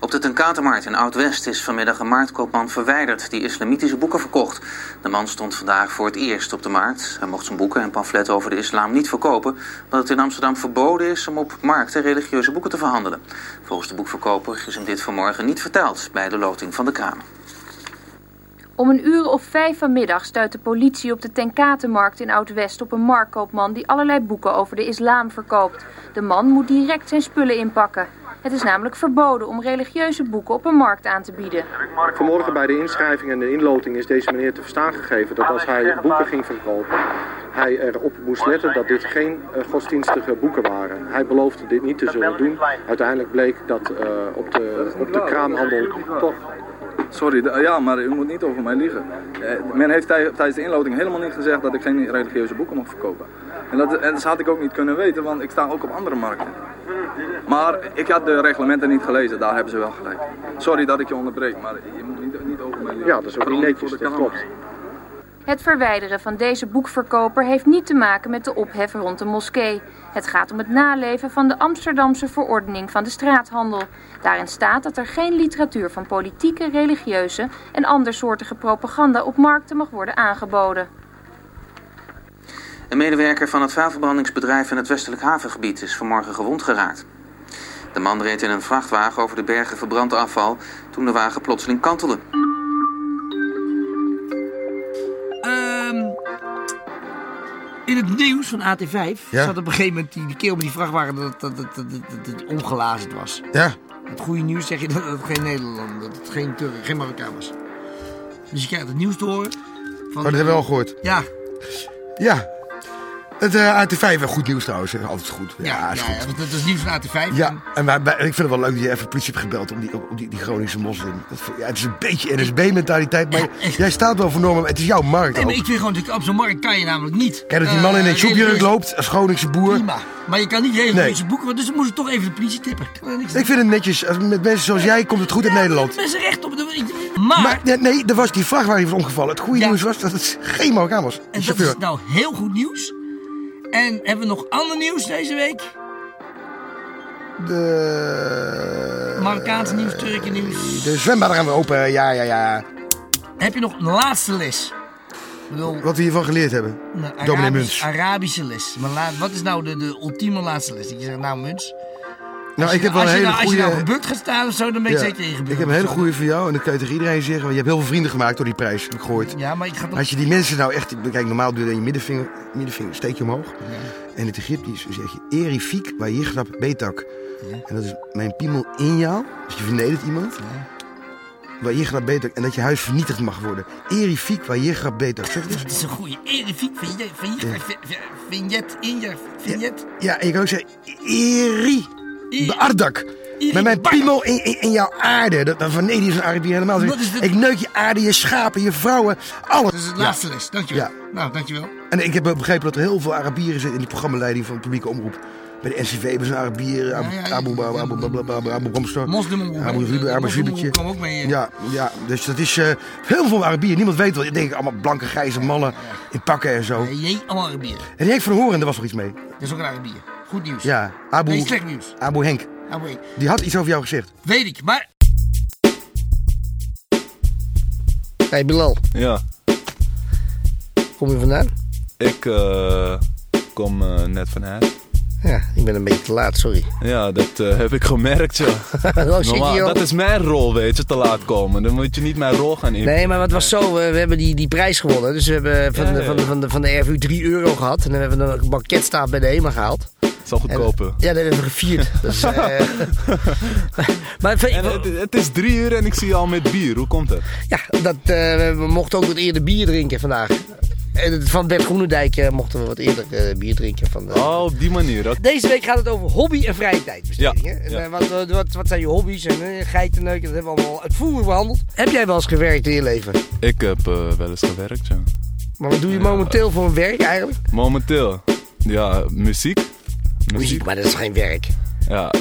[SPEAKER 20] Op de Tenkatenmarkt in Oud-West is vanmiddag een marktkoopman verwijderd die islamitische boeken verkocht. De man stond vandaag voor het eerst op de markt. Hij mocht zijn boeken en pamfletten over de islam niet verkopen, omdat het in Amsterdam verboden is om op markten religieuze boeken te verhandelen. Volgens de boekverkoper is hem dit vanmorgen niet verteld bij de loting van de kraam.
[SPEAKER 21] Om een uur of vijf vanmiddag stuit de politie op de Tenkatenmarkt in Oud-West op een marktkoopman die allerlei boeken over de islam verkoopt. De man moet direct zijn spullen inpakken. Het is namelijk verboden om religieuze boeken op een markt aan te bieden.
[SPEAKER 22] Vanmorgen bij de inschrijving en de inloting is deze meneer te verstaan gegeven dat als hij boeken ging verkopen, hij erop moest letten dat dit geen eh, godsdienstige boeken waren. Hij beloofde dit niet te zullen doen. Uiteindelijk bleek dat eh, op, de, op de kraamhandel toch
[SPEAKER 19] Sorry, de- ja, maar u moet niet over mij liegen. Eh, Men heeft tij- tijdens de inloting helemaal niet gezegd dat ik geen religieuze boeken mocht verkopen. En dat, en dat had ik ook niet kunnen weten, want ik sta ook op andere markten. Maar ik had de reglementen niet gelezen, daar hebben ze wel gelijk. Sorry dat ik je onderbreek, maar je moet niet, niet over mij liegen.
[SPEAKER 22] Ja, dat is ook niet netjes, dat klopt.
[SPEAKER 21] Het verwijderen van deze boekverkoper heeft niet te maken met de ophef rond de moskee. Het gaat om het naleven van de Amsterdamse verordening van de straathandel. Daarin staat dat er geen literatuur van politieke, religieuze en andersoortige propaganda op markten mag worden aangeboden.
[SPEAKER 20] Een medewerker van het vuilverbrandingsbedrijf in het westelijk havengebied is vanmorgen gewond geraakt. De man reed in een vrachtwagen over de bergen verbrand afval toen de wagen plotseling kantelde.
[SPEAKER 7] Ehm, in het nieuws van AT5
[SPEAKER 20] Ja.
[SPEAKER 7] zat op een gegeven moment die, die kerel met die vrachtwagen dat dat, dat, dat, dat, dat die omgelazerd was.
[SPEAKER 6] Ja.
[SPEAKER 7] Het goede nieuws zeg je dat het geen Nederlander, dat het geen Turk, geen Marokkaan was. Dus je krijgt het nieuws te horen.
[SPEAKER 6] Oh, dat hebben we al gehoord.
[SPEAKER 7] Ja.
[SPEAKER 6] Ja. Het eh AT5, wel goed nieuws trouwens. hè. Altijd goed. Ja,
[SPEAKER 7] Ja,
[SPEAKER 6] is
[SPEAKER 7] ja,
[SPEAKER 6] goed.
[SPEAKER 7] ja, want dat is nieuws van AT5.
[SPEAKER 6] Ja, en wij, wij- ik vind het wel leuk dat je even politie hebt gebeld om die, om die, die Groningse moslim. Dat vind- ja, het is een beetje NSB-mentaliteit, maar jij staat wel voor normen. Het is jouw markt
[SPEAKER 7] Nee,
[SPEAKER 6] ook.
[SPEAKER 7] maar ik vind gewoon, dat op zo'n markt kan je namelijk niet.
[SPEAKER 6] Kijk dat die man in een
[SPEAKER 7] eh,
[SPEAKER 6] jobjurk loopt, als Groningse boer.
[SPEAKER 7] Prima. Maar je kan niet regelmatig
[SPEAKER 6] Nee.
[SPEAKER 7] boeken, dus dan moest ik toch even de politie tippen. Kan er niks aan
[SPEAKER 6] Ik vind het netjes. Als- Met mensen zoals jij komt het goed in Nederland.
[SPEAKER 7] Mensen recht op de. ik- Maar,
[SPEAKER 6] nee, nee, er was die vrachtwagen die was omgevallen. Het goede nieuws was dat het geen Marokkaan was. De
[SPEAKER 7] en dat
[SPEAKER 6] chauffeur.
[SPEAKER 7] is nou heel goed nieuws. En hebben we nog ander nieuws deze week?
[SPEAKER 6] De...
[SPEAKER 7] Marokkaanse nieuws, Turkse nieuws.
[SPEAKER 6] De zwembaden gaan weer open. Ja, ja, ja.
[SPEAKER 7] Heb je nog een laatste les? Ik bedoel, Nou,
[SPEAKER 6] Wat we hiervan geleerd hebben.
[SPEAKER 7] een
[SPEAKER 6] Dominee
[SPEAKER 7] Arabisch,
[SPEAKER 6] Muns.
[SPEAKER 7] Arabische les. Maar la- wat is nou de, de ultieme laatste les? Dat je zegt, nou, Muns.
[SPEAKER 6] Nou,
[SPEAKER 7] als
[SPEAKER 6] ik
[SPEAKER 7] je,
[SPEAKER 6] heb wel
[SPEAKER 7] als
[SPEAKER 6] een
[SPEAKER 7] je
[SPEAKER 6] hele
[SPEAKER 7] nou, Als je nou
[SPEAKER 6] goede...
[SPEAKER 7] gebukt gaat staan of zo, dan ben ik
[SPEAKER 6] Ja,
[SPEAKER 7] zeker ingebukt.
[SPEAKER 6] Ik heb een
[SPEAKER 7] of
[SPEAKER 6] hele
[SPEAKER 7] zo.
[SPEAKER 6] goede voor jou en dat kan je tegen iedereen zeggen. Want je hebt heel veel vrienden gemaakt door die prijs, heb ik gehoord.
[SPEAKER 7] Ja, maar ik ga toch...
[SPEAKER 6] Als je die mensen nou echt... Kijk, normaal doe je dan je middenvinger, middenvinger steek je omhoog. En in het Egyptisch zeg je... Erifiek waar Yigrab betak. En dat is mijn piemel in jou. Dus je vernedert iemand. Waar Yigrab betak. En dat je huis vernietigd mag worden. Erifiek waar Yigrab betak. Zeg dus.
[SPEAKER 7] Dat is een goeie. Erifiek, vignet,
[SPEAKER 6] Ja.
[SPEAKER 7] vignet, vignet, vignet.
[SPEAKER 6] Ja, en je kan ook zeggen... Eri beardak.
[SPEAKER 7] Eri
[SPEAKER 6] Met mijn piemel in, in, in jouw aarde. Dat, dat vernedert zo'n Arabier helemaal.
[SPEAKER 7] Wat is dit?
[SPEAKER 6] Ik neuk je aarde, je schapen, je vrouwen. Alles.
[SPEAKER 7] Dat is het laatste les. Dankjewel.
[SPEAKER 6] Ja.
[SPEAKER 7] Nou, dankjewel.
[SPEAKER 6] En ik heb begrepen dat er heel veel Arabieren zitten in de programmaleiding van de publieke omroep. Bij de NCV hebben ze een Arabier, Abu Abu Abu Abu Abu Abu Abu Komstor.
[SPEAKER 7] Moslimomroep.
[SPEAKER 6] Abu Zubi-
[SPEAKER 7] Eh,
[SPEAKER 6] Abu
[SPEAKER 7] moslimomroep
[SPEAKER 6] Zubitje.
[SPEAKER 7] kwam ook mee, eh.
[SPEAKER 6] Ja, ja, dus dat is eh, heel veel Arabieren. Niemand weet wel. Ik denk allemaal blanke, grijze mannen in pakken en zo.
[SPEAKER 7] Nee, jee, allemaal Arabieren.
[SPEAKER 6] En Henk van Horen, daar was nog iets mee.
[SPEAKER 7] Dat is ook een Arabier. Goed nieuws.
[SPEAKER 6] Ja, Abu,
[SPEAKER 7] Nee, slecht nieuws.
[SPEAKER 6] Abu Henk.
[SPEAKER 7] Ah, wait.
[SPEAKER 6] Die had iets over jou gezegd.
[SPEAKER 7] Weet ik, maar... Hey Bilal,
[SPEAKER 23] Ja,
[SPEAKER 7] kom je vandaan?
[SPEAKER 23] ik eh, kom eh, net van huis.
[SPEAKER 7] Ja, ik ben een beetje te laat, sorry. Oh,
[SPEAKER 23] Ja, dat eh, heb ik gemerkt, ja.
[SPEAKER 7] zit hij al.
[SPEAKER 23] dat is mijn rol, weet je, te laat komen. Dan moet je niet mijn rol gaan in.
[SPEAKER 7] Nee, maar wat was zo? We, we hebben die, die prijs gewonnen. Dus we hebben van,
[SPEAKER 23] Ja,
[SPEAKER 7] de,
[SPEAKER 23] ja.
[SPEAKER 7] van, de, van, de, van de RVU 3 euro gehad. En dan hebben we een banketstaaf bij de HEMA gehaald.
[SPEAKER 23] Het zal goedkoper.
[SPEAKER 7] Ja, dat hebben we gevierd. Dus, eh, maar
[SPEAKER 23] En het, het is drie uur en ik zie je al met bier. Hoe komt dat?
[SPEAKER 7] ja, dat, eh, we mochten ook wat eerder bier drinken vandaag. En het- van Bert Groenendijk eh, mochten we wat eerder eh, bier drinken. Van de...
[SPEAKER 23] Oh, op die manier. oké.
[SPEAKER 7] Deze week gaat het over hobby en vrije tijd.
[SPEAKER 23] Ja.
[SPEAKER 7] En,
[SPEAKER 23] ja.
[SPEAKER 7] eh, wat, wat, wat, wat zijn je hobby's? En eh, geitenneuken, dat hebben we allemaal uitvoerig behandeld. Heb jij wel eens gewerkt in je leven?
[SPEAKER 23] Ik heb eh, wel eens gewerkt, ja.
[SPEAKER 7] Maar wat doe je momenteel voor werk eigenlijk?
[SPEAKER 23] Momenteel, ja, muziek.
[SPEAKER 7] Muziek, maar dat is geen werk.
[SPEAKER 23] Ja, eh,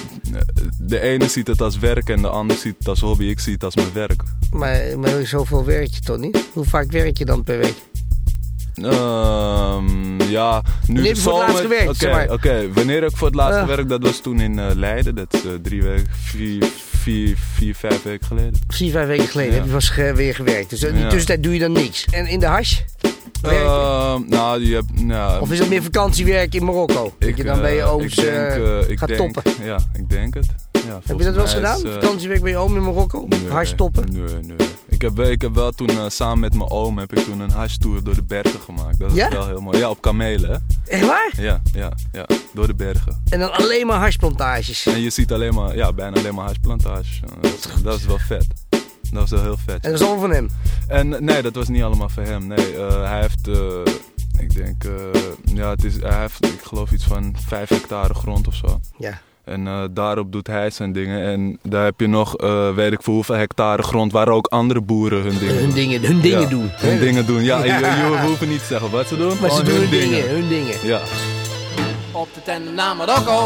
[SPEAKER 23] de ene ziet het als werk en de ander ziet het als hobby. Ik zie het als mijn werk.
[SPEAKER 7] Maar, maar zoveel werk je toch niet? Hoe vaak werk je dan per week?
[SPEAKER 23] Ehm, ja, nu
[SPEAKER 7] Wanneer heb je voor het
[SPEAKER 23] zomer-
[SPEAKER 7] laatst gewerkt,
[SPEAKER 23] Oké,
[SPEAKER 7] zeg maar?
[SPEAKER 23] oké. wanneer ik voor het laatst
[SPEAKER 7] Ja.
[SPEAKER 23] gewerkt, dat was toen in eh, Leiden. Dat is eh, drie weken, vier, vier, vier, vijf weken geleden.
[SPEAKER 7] Vier, vijf weken geleden
[SPEAKER 23] Ja.
[SPEAKER 7] heb je was weer gewerkt. Dus in die
[SPEAKER 23] Ja.
[SPEAKER 7] tussentijd doe je dan niks. En in de hash?
[SPEAKER 23] Ehm, nou, je hebt, nou,
[SPEAKER 7] Of is dat meer vakantiewerk in Marokko? Dat je dan bij je
[SPEAKER 23] eh,
[SPEAKER 7] ooms
[SPEAKER 23] ik denk,
[SPEAKER 7] eh,
[SPEAKER 23] eh, ik
[SPEAKER 7] gaat
[SPEAKER 23] denk-
[SPEAKER 7] toppen.
[SPEAKER 23] Ja, ik denk het. Ja,
[SPEAKER 7] Heb je
[SPEAKER 23] volgens
[SPEAKER 7] dat wel eens
[SPEAKER 23] mij is,
[SPEAKER 7] gedaan?
[SPEAKER 23] eh,
[SPEAKER 7] Vakantiewerk bij je oom in Marokko?
[SPEAKER 23] nee,
[SPEAKER 7] Hash toppen?
[SPEAKER 23] Nee, nee. Ik heb, wel- ik heb wel toen eh, samen met mijn oom heb ik toen een hashtour door de bergen gemaakt. Dat
[SPEAKER 7] Ja?
[SPEAKER 23] is wel heel mooi. Ja, op kamelen. Hè?
[SPEAKER 7] Echt waar?
[SPEAKER 23] Ja, ja, ja. Door de bergen.
[SPEAKER 7] En dan alleen maar hashplantages.
[SPEAKER 23] En je ziet alleen maar, ja, bijna alleen maar hashplantage. Dat, is- dat is wel vet. Dat was wel heel vet.
[SPEAKER 7] En dat is allemaal van hem?
[SPEAKER 23] En nee, dat was niet allemaal van hem. Nee, eh, hij heeft, eh, ik denk, eh, ja, het is, hij heeft, ik geloof iets van 5 hectare grond of zo.
[SPEAKER 7] Ja.
[SPEAKER 23] En eh, daarop doet hij zijn dingen. En daar heb je nog, eh, weet ik voor hoeveel hectare grond, waar ook andere boeren hun dingen
[SPEAKER 7] Hun
[SPEAKER 23] doen.
[SPEAKER 7] dingen- hun dingen
[SPEAKER 23] Ja,
[SPEAKER 7] doen, hè?
[SPEAKER 23] Hun dingen doen, ja.
[SPEAKER 7] Ja.
[SPEAKER 23] Je, je, hoeft niet te zeggen wat ze doen.
[SPEAKER 7] Maar ze
[SPEAKER 23] gewoon
[SPEAKER 7] doen hun dingen, hun dingen.
[SPEAKER 23] Ja.
[SPEAKER 24] Op de tandem naar Marokko.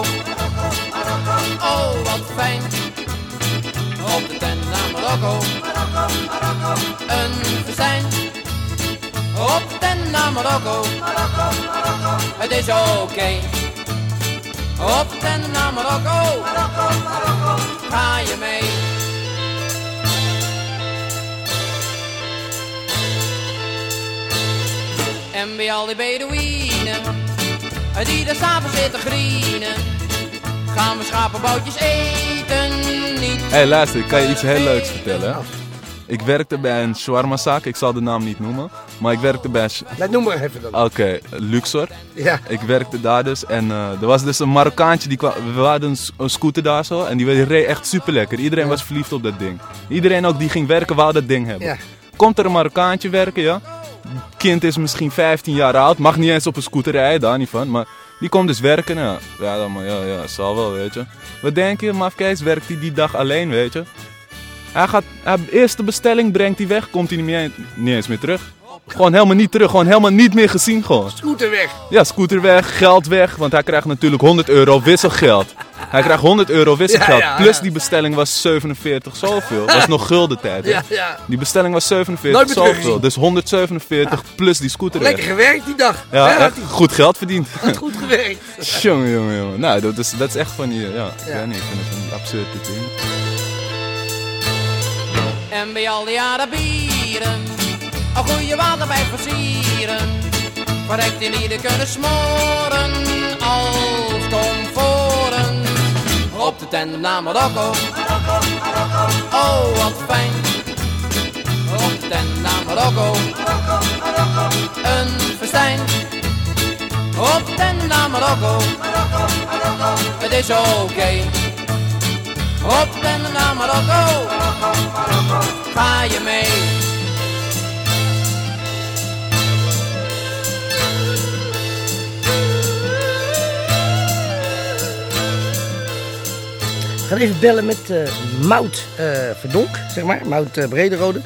[SPEAKER 24] Oh, wat fijn. Op de tandem naar Marokko. Een verzijn. Op de tandem naar Marokko. Het is oké. Op de tandem naar Marokko. Ga je mee. En bij al die Bedouinen die daar s'avonds zitten grienen, gaan we schapenboutjes eten. Niet
[SPEAKER 23] Hé, hey, luister, ik kan je iets heel leuks vertellen.
[SPEAKER 7] Nou.
[SPEAKER 23] Ik werkte bij een shawarmazaak, ik zal de naam niet noemen. Maar ik werkte bij... een-
[SPEAKER 7] Nou, noem maar even dan.
[SPEAKER 23] Oké, Luxor.
[SPEAKER 7] Ja.
[SPEAKER 23] Ik werkte daar dus en eh, er was dus een Marokkaantje die kwam. We hadden een, s- een scooter daar zo en die reed echt super lekker. Iedereen was verliefd op dat ding. Iedereen ook die ging werken wou dat ding hebben.
[SPEAKER 7] Ja.
[SPEAKER 23] Komt er een Marokkaantje werken, ja? Kind is misschien 15 jaar oud, mag niet eens op een scooter rijden, daar niet van. Maar die komt dus werken, ja. Ja, dan, maar, ja, ja, zal wel, weet je. Wat denk je, mafkees, werkt hij die dag alleen, weet je? Hij gaat, hij, eerste bestelling brengt hij weg, komt hij niet, meer, niet eens meer terug. Gewoon helemaal niet terug, gewoon helemaal niet meer gezien gewoon.
[SPEAKER 7] Scooter weg.
[SPEAKER 23] Ja, scooter weg, geld weg, want hij krijgt natuurlijk 100 euro wisselgeld. Hij krijgt 100 euro wisselgeld,
[SPEAKER 7] Ja, ja, ja.
[SPEAKER 23] plus die bestelling was 47 zoveel. Dat was nog gulden tijd. hè?
[SPEAKER 7] Ja, ja.
[SPEAKER 23] Die bestelling was 47
[SPEAKER 7] Nooit meer
[SPEAKER 23] zoveel,
[SPEAKER 7] teruggezien.
[SPEAKER 23] dus 147 plus die scooter
[SPEAKER 7] Lekker
[SPEAKER 23] weg.
[SPEAKER 7] gewerkt die dag.
[SPEAKER 23] Ja,
[SPEAKER 7] had
[SPEAKER 23] echt
[SPEAKER 7] hij
[SPEAKER 23] goed geld verdiend.
[SPEAKER 7] had goed gewerkt.
[SPEAKER 23] jongen, jongen, jongen. Nou, dat is, dat is echt van hier, ja. Ik
[SPEAKER 24] Ja.
[SPEAKER 23] weet niet, ik vind het een absurde ding.
[SPEAKER 24] en bij al die Arabieren, een goede water bij versieren. Verrekt die lieden kunnen smoren, als komforen. Op de tandem naar Marokko, oh wat fijn. Op de tandem naar Marokko, een festijn. Op de tandem naar Marokko, het is oké. Op de tandem naar Marokko. Ga je mee?
[SPEAKER 7] We gaan even bellen met eh, Mout eh, Verdonk, zeg maar. Mout eh, Brederode.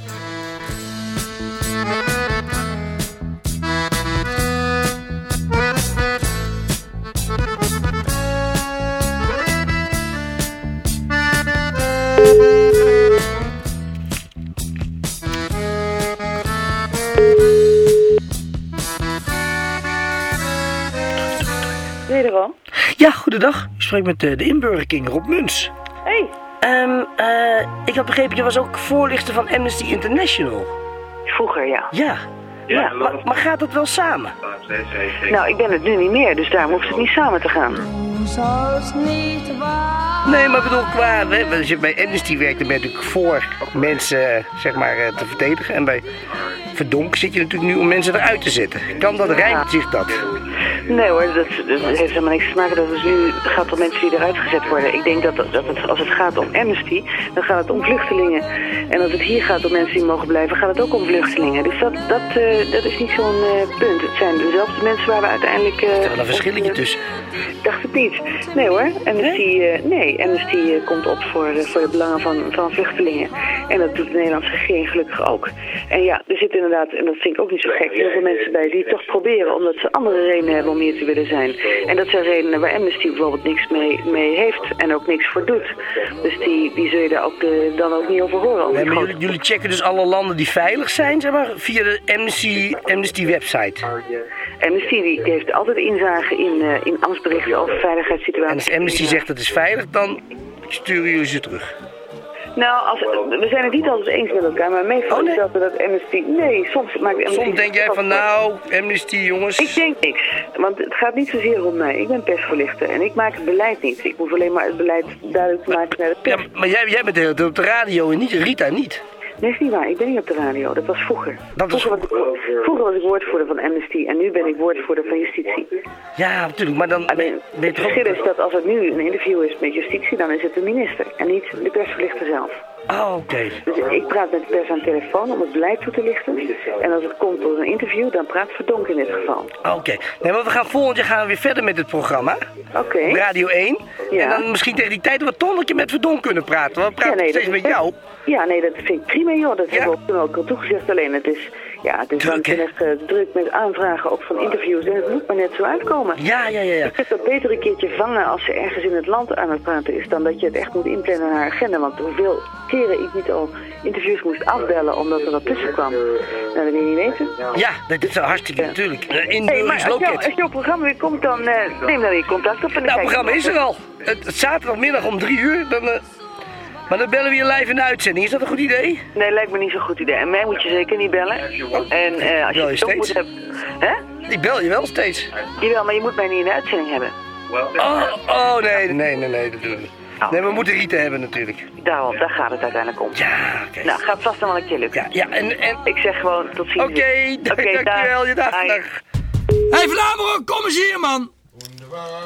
[SPEAKER 25] Wederom.
[SPEAKER 7] Ja, goedendag. Ik spreek met eh, de inburgering Rob Muns.
[SPEAKER 25] Hey.
[SPEAKER 7] Ehm, eh, ik had begrepen, je was ook voorlichter van Amnesty International.
[SPEAKER 25] Vroeger, ja.
[SPEAKER 7] Ja.
[SPEAKER 25] Ja,
[SPEAKER 7] maar, maar, maar gaat dat wel samen?
[SPEAKER 25] Nou, ik ben het nu niet meer, dus daarom hoeft het niet samen te gaan.
[SPEAKER 3] niet waar.
[SPEAKER 7] Nee, maar ik bedoel, qua, hè, als je bij Amnesty werkt, dan ben je natuurlijk voor mensen eh, zeg maar, eh, te verdedigen. En bij Verdonk zit je natuurlijk nu om mensen eruit te zetten. Kan dat, rijmt zich dat?
[SPEAKER 25] Nee hoor, dat, dat heeft helemaal niks te maken. Dat het nu gaat om mensen die eruit gezet worden. Ik denk dat, dat het, als het gaat om Amnesty, dan gaat het om vluchtelingen. En als het hier gaat om mensen die mogen blijven, gaat het ook om vluchtelingen. Dus dat, dat, eh, dat is niet zo'n eh, punt. Het zijn dezelfde mensen waar we uiteindelijk... eh,
[SPEAKER 7] Is er wel een verschilletje
[SPEAKER 25] op-
[SPEAKER 7] tussen?
[SPEAKER 25] Dacht het niet. Nee hoor, Amnesty, eh, nee, Amnesty eh, komt op voor, eh, voor de belangen van, van vluchtelingen. En dat doet de Nederlandse regering gelukkig ook. En ja, er zitten inderdaad, en dat vind ik ook niet zo gek, heel veel mensen bij die het toch proberen omdat ze andere redenen hebben om meer te willen zijn. En dat zijn redenen waar Amnesty bijvoorbeeld niks mee, mee heeft en ook niks voor doet. Dus die, die zul je daar ook, eh, dan ook niet over horen. al die
[SPEAKER 7] Nee, maar
[SPEAKER 25] grote
[SPEAKER 7] jullie, jullie checken dus alle landen die veilig zijn, zeg maar, via de Amnesty, Amnesty website.
[SPEAKER 25] Amnesty die heeft altijd inzage in, eh, in ambtsberichten over veiligheidssituaties.
[SPEAKER 7] En als Amnesty zegt dat is veilig, dan sturen jullie ze terug.
[SPEAKER 25] Nou, als, we zijn het niet altijd eens met elkaar, maar meestal is dat we dat Amnesty... Nee, soms maakt Amnesty...
[SPEAKER 7] Oh, Soms denk jij van, nou, Amnesty, jongens...
[SPEAKER 25] Ik denk niks, want het gaat niet zozeer om mij. Ik ben persvoorlichter en ik maak het beleid niet. Ik hoef alleen maar het beleid duidelijk te maken naar de pers.
[SPEAKER 7] Maar jij, jij bent de hele tijd op de radio en niet, Rita niet.
[SPEAKER 25] Nee, is niet waar. Ik ben niet op de radio. Dat was vroeger.
[SPEAKER 7] Dat was
[SPEAKER 25] vroeger, was ik, wo- vroeger was ik woordvoerder van Amnesty en nu ben ik woordvoerder van Justitie.
[SPEAKER 7] Ja, natuurlijk, maar
[SPEAKER 25] Ah,
[SPEAKER 7] dan ben, ben je
[SPEAKER 25] Het
[SPEAKER 7] toch ook-
[SPEAKER 25] verschil is dat als het nu een interview is met Justitie, dan is het de minister en niet de persvoorlichter zelf.
[SPEAKER 7] Oh, oké.
[SPEAKER 25] Dus ik praat met de pers aan de telefoon om het beleid toe te lichten. En als het komt tot een interview, dan praat Verdonk in dit geval.
[SPEAKER 7] Ah, Oké, nee, maar we gaan volgend jaar gaan we weer verder met dit programma. Oké. Radio 1. En dan misschien tegen die tijd wat Ton een keer met Verdon kunnen praten. Want we praten steeds met jou.
[SPEAKER 25] Ja, nee, dat vind ik prima, joh. Dat hebben we ook toen ook al toegezegd. Alleen het is, ja, het is waanzinnig eh, druk met aanvragen, ook van interviews. En het moet maar net zo uitkomen.
[SPEAKER 7] Ja, ja, ja. ja.
[SPEAKER 25] Je kunt dat beter een keertje vangen als ze ergens in het land aan het praten is... dan dat je het echt moet inplannen naar haar agenda. Want hoeveel keren ik niet al interviews moest afbellen omdat er wat tussen kwam. Nou, dat wil je niet weten.
[SPEAKER 7] Ja, dat is hartstikke natuurlijk. Eh, In
[SPEAKER 25] Hey, maar
[SPEAKER 7] is
[SPEAKER 25] als jouw,
[SPEAKER 7] Loket.
[SPEAKER 25] als jouw programma weer komt, dan eh, neem dan weer contact op. En dan
[SPEAKER 7] Nou,
[SPEAKER 25] kijk
[SPEAKER 7] het
[SPEAKER 25] ik
[SPEAKER 7] programma
[SPEAKER 25] of
[SPEAKER 7] is er al. Het, het zaterdagmiddag om drie uur. Dan, eh, maar dan bellen we je live in de uitzending. Is dat een goed idee?
[SPEAKER 25] Nee, lijkt me niet zo'n goed idee. En mij moet je zeker niet bellen. En eh, als je
[SPEAKER 7] Bel je
[SPEAKER 25] het ook moet
[SPEAKER 7] steeds?
[SPEAKER 25] hebben... Hè?
[SPEAKER 7] Ik bel je wel steeds.
[SPEAKER 25] Jawel, maar je moet mij niet in de uitzending hebben.
[SPEAKER 7] Oh, oh nee, nee, nee, nee, dat doen we niet. Nee, we moeten Rieten hebben natuurlijk.
[SPEAKER 25] Oh. Daarom, daar gaat het uiteindelijk om.
[SPEAKER 7] Ja, oké.
[SPEAKER 25] Nou, gaat vast nog wel een keer lukken.
[SPEAKER 7] Ja, ja en, en...
[SPEAKER 25] Ik zeg gewoon tot ziens.
[SPEAKER 7] Oké, dank-
[SPEAKER 25] Oké, dag.
[SPEAKER 7] dankjewel. Je dag.
[SPEAKER 25] Bye.
[SPEAKER 7] dag.
[SPEAKER 4] Hé, hey, Van Amerongen, kom eens hier, man.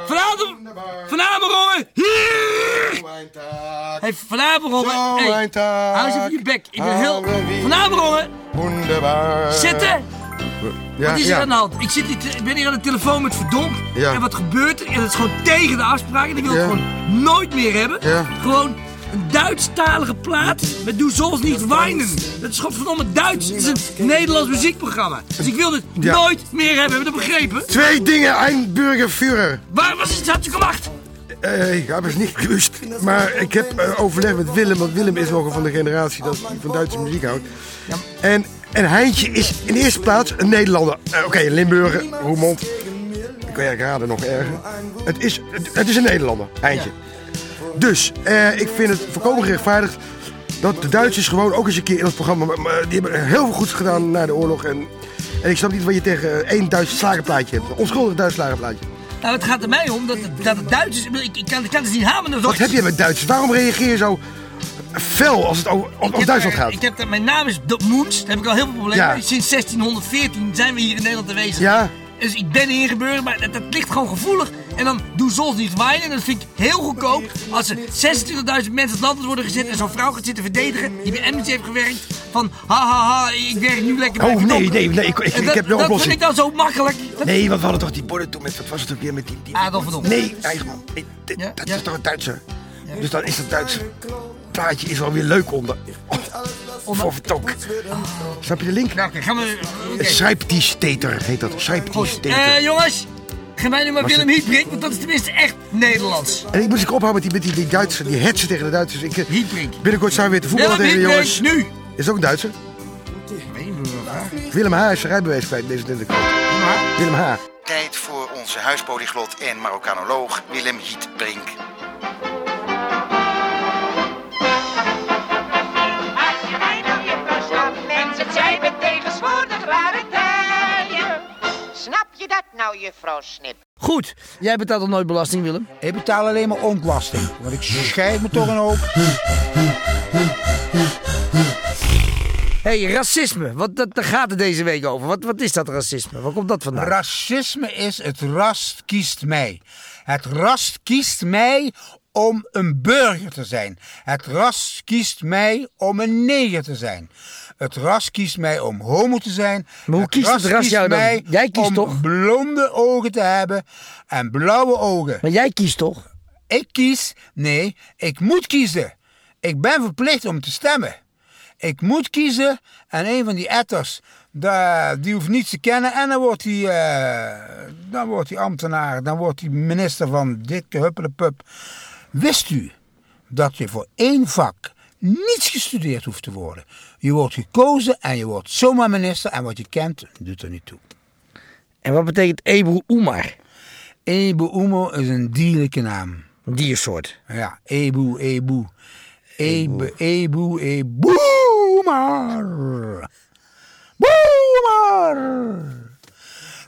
[SPEAKER 4] Vanavond, Van Amerongen, hier! Hé, hey, Van Amerongen, hey, hou eens even je bek. Ik ben heel... Van Amerongen, zitten.
[SPEAKER 6] Ja,
[SPEAKER 4] wat is
[SPEAKER 6] ja.
[SPEAKER 4] er aan de hand? Ik, zit hier te- ik ben hier aan de telefoon met Verdonk.
[SPEAKER 6] Ja.
[SPEAKER 4] En wat gebeurt er? En dat is gewoon tegen de afspraak. En die wil ik gewoon nooit meer hebben. Gewoon een Duits-talige plaat met Doe Zoals Niet Weinen. Dat is godverdomme Duits. Het is een Nederlands muziekprogramma. Dus ik wil dit
[SPEAKER 6] Ja.
[SPEAKER 4] nooit meer hebben. Heb je dat begrepen?
[SPEAKER 6] Twee dingen, ein Bürgerführer.
[SPEAKER 4] Waar was het? Had je gemacht?
[SPEAKER 6] Eh, ik heb het niet gewust, maar ik heb eh, overleg met Willem, want Willem is nogal van de generatie dat van Duitse muziek houdt. En, en Heintje is in de eerste plaats een Nederlander. Eh, Oké, een Limburger, Roermond. Ik kan je raden nog erger. Het is, het, het is een Nederlander, Heintje. Dus, eh, ik vind het volkomen gerechtvaardigd dat de Duitsers gewoon ook eens een keer in het programma... maar- maar die hebben heel veel goed gedaan na de oorlog en... En ik snap niet wat je tegen eh, één Duits slagerplaatje hebt. Een onschuldig Duits slagerplaatje.
[SPEAKER 4] Nou, het gaat er mij om dat het, dat het Duits is. Ik, bedoel, ik, ik kan, ik kan het niet hameren. dat
[SPEAKER 6] Wat heb je met Duitsers? Waarom reageer je zo fel als het over, om- om
[SPEAKER 4] Ik heb
[SPEAKER 6] Duitsland
[SPEAKER 4] daar-
[SPEAKER 6] gaat?
[SPEAKER 4] Ik heb, daar- mijn naam is Do- Moens, daar heb ik al heel veel problemen
[SPEAKER 6] Ja.
[SPEAKER 4] mee. Sinds 1614 zijn we hier in Nederland aanwezig.
[SPEAKER 6] Ja.
[SPEAKER 4] Dus ik ben hier gebeurd, maar dat, dat ligt gewoon gevoelig. En dan doe zoals niet wijnen. Dat vind ik heel goedkoop. Als er 26.000 mensen het land uit worden gezet en zo'n vrouw gaat zitten verdedigen. Die bij Amnesty heeft gewerkt. Van ha ha ha, ik werk nu lekker bij
[SPEAKER 6] Oh,
[SPEAKER 4] Verdonk.
[SPEAKER 6] nee, nee, nee, ik- ik-
[SPEAKER 4] En
[SPEAKER 6] ik
[SPEAKER 4] dat,
[SPEAKER 6] heb de
[SPEAKER 4] Dat
[SPEAKER 6] oplossing.
[SPEAKER 4] vind ik dan zo makkelijk. Dat-
[SPEAKER 6] Nee, want we hadden toch die borden toen met, wat was het ook weer met die... die
[SPEAKER 4] Adolf van Ons.
[SPEAKER 6] Nee, Eichmann. Nee, dit- Dat is toch een Duitser? Dus dan is dat Duitse plaatje is wel weer leuk onder. Oh, voor vertok. Snap je de link?
[SPEAKER 4] Nou, oké, gaan we... oké.
[SPEAKER 6] Schrijptiesteter heet dat. Schrijptiesteter.
[SPEAKER 4] Eh, jongens, gaan wij nu maar
[SPEAKER 6] Was
[SPEAKER 4] Willem
[SPEAKER 6] het-
[SPEAKER 4] Hietbrink, want dat is tenminste echt Nederlands.
[SPEAKER 6] En ik moest ik ophouden met die, met die, die Duitsers, die hetsen tegen de Duitsers. Ik, eh, binnenkort zijn we weer te voetballen
[SPEAKER 4] Willem
[SPEAKER 6] tegen de
[SPEAKER 4] Hietbrink,
[SPEAKER 6] jongens.
[SPEAKER 4] nu!
[SPEAKER 6] Is
[SPEAKER 4] Ah.
[SPEAKER 6] het ook een Duitser? Willem H. is zijn rijbewijs kwijt in deze Nederland. Willem H.
[SPEAKER 26] Tijd voor onze huispolyglot en Marokkanoloog Willem Hietbrink.
[SPEAKER 27] Als je mij nou je pas snapt, mensen, het zijn we tegenwoordig rare tijden. Snap je dat nou, juffrouw Snip?
[SPEAKER 4] Goed, jij betaalt al nooit belasting, Willem?
[SPEAKER 5] Ik betaal alleen maar onklasting, want ik scheid me toch een hoop.
[SPEAKER 4] Hé, hey, racisme. Wat, dat, daar gaat het deze week over. Wat, wat is dat racisme? Waar komt dat vandaan?
[SPEAKER 5] Racisme is het ras kiest mij. Het ras kiest mij om een burger te zijn. Het ras kiest mij om een neger te zijn. Het ras kiest mij om homo te zijn. Maar hoe
[SPEAKER 4] kiest het ras jou dan? Jij kiest
[SPEAKER 5] om
[SPEAKER 4] toch?
[SPEAKER 5] blonde ogen te hebben en blauwe ogen.
[SPEAKER 4] Maar jij kiest toch?
[SPEAKER 5] Ik kies? Nee, ik moet kiezen. Ik ben verplicht om te stemmen. Ik moet kiezen en een van die etters, da- die hoeft niets te kennen. En dan wordt hij eh, dan wordt hij ambtenaar, dan wordt hij minister van dit huppelepup. Wist u dat je voor één vak niets gestudeerd hoeft te worden? Je wordt gekozen en je wordt zomaar minister en wat je kent doet er niet toe.
[SPEAKER 7] En wat betekent Ebu Oemar?
[SPEAKER 5] Ebu Oemar is een dierlijke naam.
[SPEAKER 7] Een diersoort?
[SPEAKER 5] Ja, Ebu, Ebu. Ebu, Ebu, Ebu Oemar. Boemar!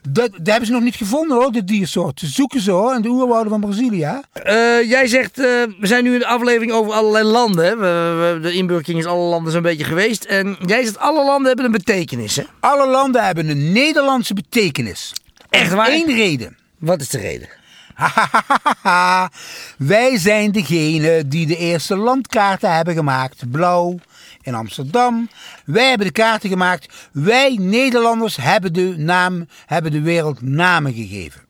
[SPEAKER 5] Dat, dat hebben ze nog niet gevonden hoor, dit diersoort. Ze zoeken ze hoor, in de oerwouden van Brazilië. hè.
[SPEAKER 7] Eh, jij zegt, eh, we zijn nu in de aflevering over allerlei landen. hè. We, we- de inburking is alle landen zo'n beetje geweest. En jij zegt, alle landen hebben een betekenis, hè?
[SPEAKER 5] Alle landen hebben een Nederlandse betekenis.
[SPEAKER 7] Echt waar?
[SPEAKER 5] Eén reden.
[SPEAKER 7] Wat is de reden?
[SPEAKER 5] Wij zijn degene die de eerste landkaarten hebben gemaakt. Blauw in Amsterdam. Wij hebben de kaarten gemaakt. Wij Nederlanders hebben de, naam, hebben de wereld namen gegeven.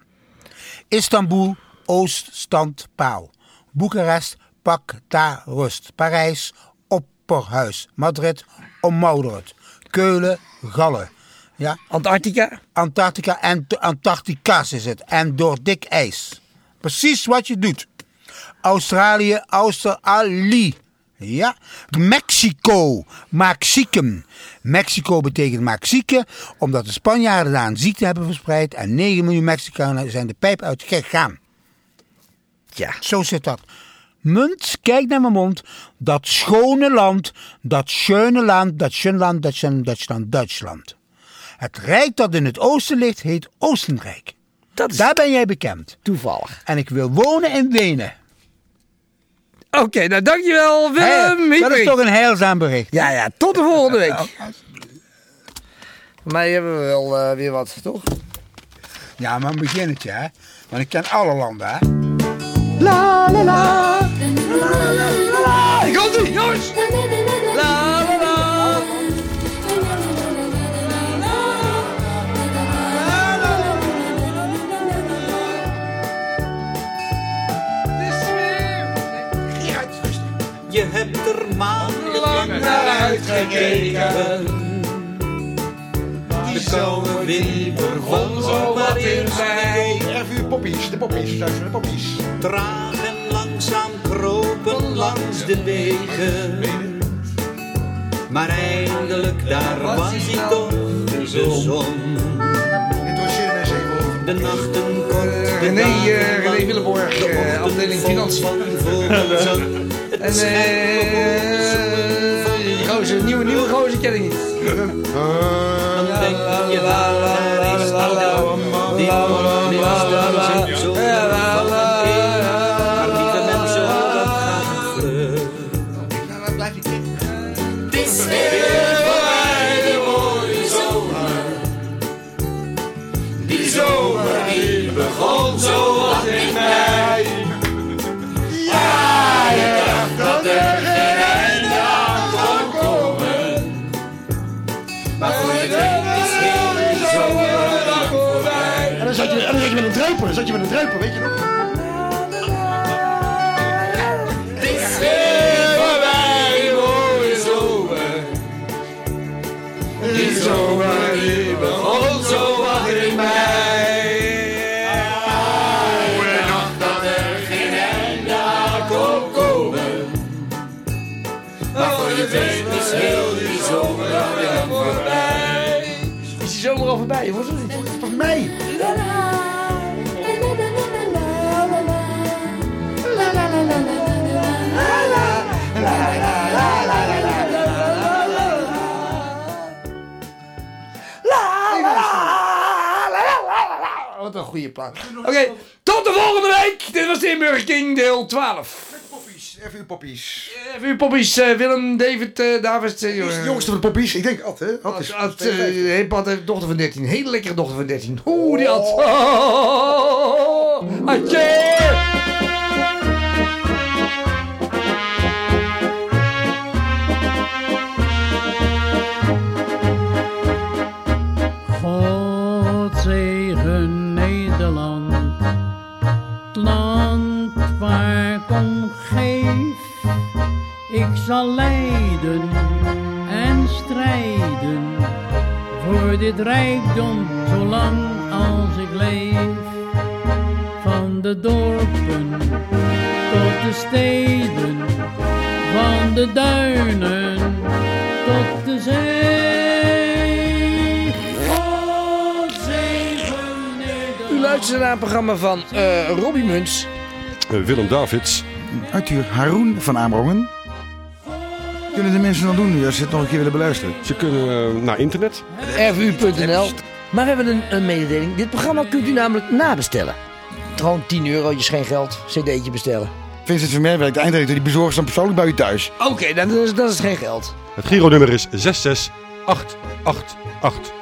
[SPEAKER 5] Istanbul, Oost, stand, paal. Boekarest, pak, ta, rust. Parijs, opperhuis. Madrid, ommouderd. Keulen, gallen. Ja?
[SPEAKER 7] Antarctica?
[SPEAKER 5] Antarctica en t- Antarctica's is het. En door dik ijs. Precies wat je doet. Australië, Australië. Ja. Mexico, Maxicum. Mexico betekent Maxieke, omdat de Spanjaarden daar een ziekte hebben verspreid. En 9 miljoen Mexicanen zijn de pijp uitgegaan.
[SPEAKER 7] Ja.
[SPEAKER 5] Zo zit dat. Munt, kijk naar mijn mond. Dat schone land, dat schöne land, dat schön land, dat schön Duitsland, Duitsland. Het rijk dat in het oosten ligt, heet Oostenrijk. Daar ben jij bekend.
[SPEAKER 7] Toevallig.
[SPEAKER 5] En ik wil wonen in Wenen.
[SPEAKER 7] Oké, nou dankjewel Willem.
[SPEAKER 5] Hè, dat is
[SPEAKER 7] Hiepering.
[SPEAKER 5] toch een heilzaam bericht.
[SPEAKER 7] Ja, ja, tot de volgende week. Voor mij hebben we wel eh, weer wat, toch?
[SPEAKER 5] Ja, maar een beginnetje, hè. Want ik ken alle landen, hè.
[SPEAKER 7] La la la. La la la. Ik hoop het, jongens. La la la.
[SPEAKER 3] Je hebt er maandenlang naar uitgekeken. Die zomerwinter begon zo wat in mij. Erf poppies, de poppies, de poppies. Traag en langzaam kropen langs de wegen. Maar eindelijk, daar was hij toch, de zon. De nachten kort, de
[SPEAKER 6] René, eh,
[SPEAKER 3] dagen
[SPEAKER 6] René
[SPEAKER 3] lang.
[SPEAKER 6] Willeborg, eh, afdeling Financiën.
[SPEAKER 3] En eh,
[SPEAKER 6] die gozer, nieuwe, nieuwe gozer ken ik niet.
[SPEAKER 3] Dan denk je, la, la, daar is Aldo, die man in de zon van een maar lieve mensen, dat gaat vlug. Het is weer voorbij, de mooie zomer. Die zomer die begon zo wat in mei. Ja, je dacht dat er geen einde aan kon komen. Maar voor je denkt is heel de zomer lang voorbij.
[SPEAKER 6] En dan zat je, en dan zat je met een druiper, dan zat je met een druiper, weet je nog?
[SPEAKER 3] Het is weer voorbij, de mooie zomer. Die zomer die begon zo wat in mij. Oude nacht dat er geen einde aan kon komen. Maar voor je weet is heel die zomer dan weer voorbij.
[SPEAKER 7] Is die zomer al voorbij? Wordt het niet?
[SPEAKER 6] Volgens mij.
[SPEAKER 7] Wat een goede plaat. Oké, tot de volgende week. Dit was de Inburger King, deel 12.
[SPEAKER 28] Even uw poppies.
[SPEAKER 7] Even uw poppies, eh, Willem, David, eh, David. eh,
[SPEAKER 28] Wie is de jongste van de poppies? Ik denk Ad, hè? Ad is
[SPEAKER 7] Ad, eh,
[SPEAKER 28] 52.
[SPEAKER 7] heeft Ad heeft een dochter van 13. Hele lekkere dochter van 13.
[SPEAKER 28] Oh.
[SPEAKER 7] Oeh, die Ad. Adje!
[SPEAKER 3] God zegen Nederland, het land waar ik om geef. Ik zal lijden
[SPEAKER 29] strijden voor dit rijkdom zolang als ik leef. Van de dorpen tot de steden, van de duinen tot de zee. God zegen
[SPEAKER 8] U luistert naar een programma van eh Robbie Muns.
[SPEAKER 13] Eh, Willem Davids.
[SPEAKER 6] Arthur Haroun van Amerongen. Kunnen de mensen dan doen nu als ze het nog een keer willen beluisteren?
[SPEAKER 13] Ze kunnen eh, naar internet.
[SPEAKER 8] rvu.nl. Maar we hebben een, een mededeling. Dit programma kunt u namelijk nabestellen. Gewoon 10 euro, je is geen geld. CD'tje bestellen.
[SPEAKER 6] Vincent Vermeer werkt de eindredacteur, die bezorgt ze dan persoonlijk bij u thuis.
[SPEAKER 8] Oké, dan, is, dan is het geen geld.
[SPEAKER 13] Het Giro-nummer is 66888.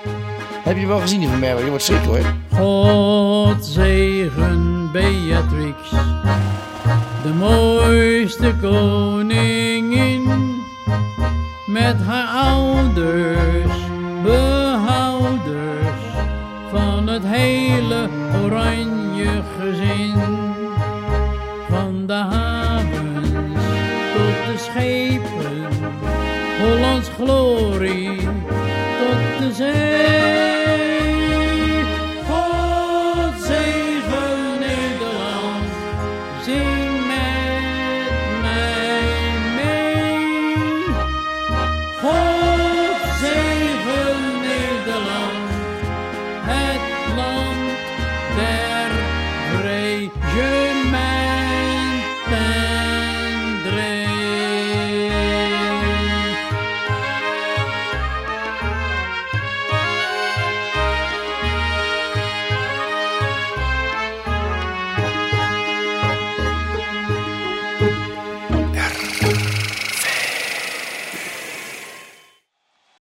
[SPEAKER 8] Heb je wel gezien die van Merwe? Je wordt ziek hoor.
[SPEAKER 29] God zegen Beatrix, de mooiste koningin. Met haar ouders, behouders van het hele oranje gezin. Van de havens tot de schepen, Hollands glorie tot de zee.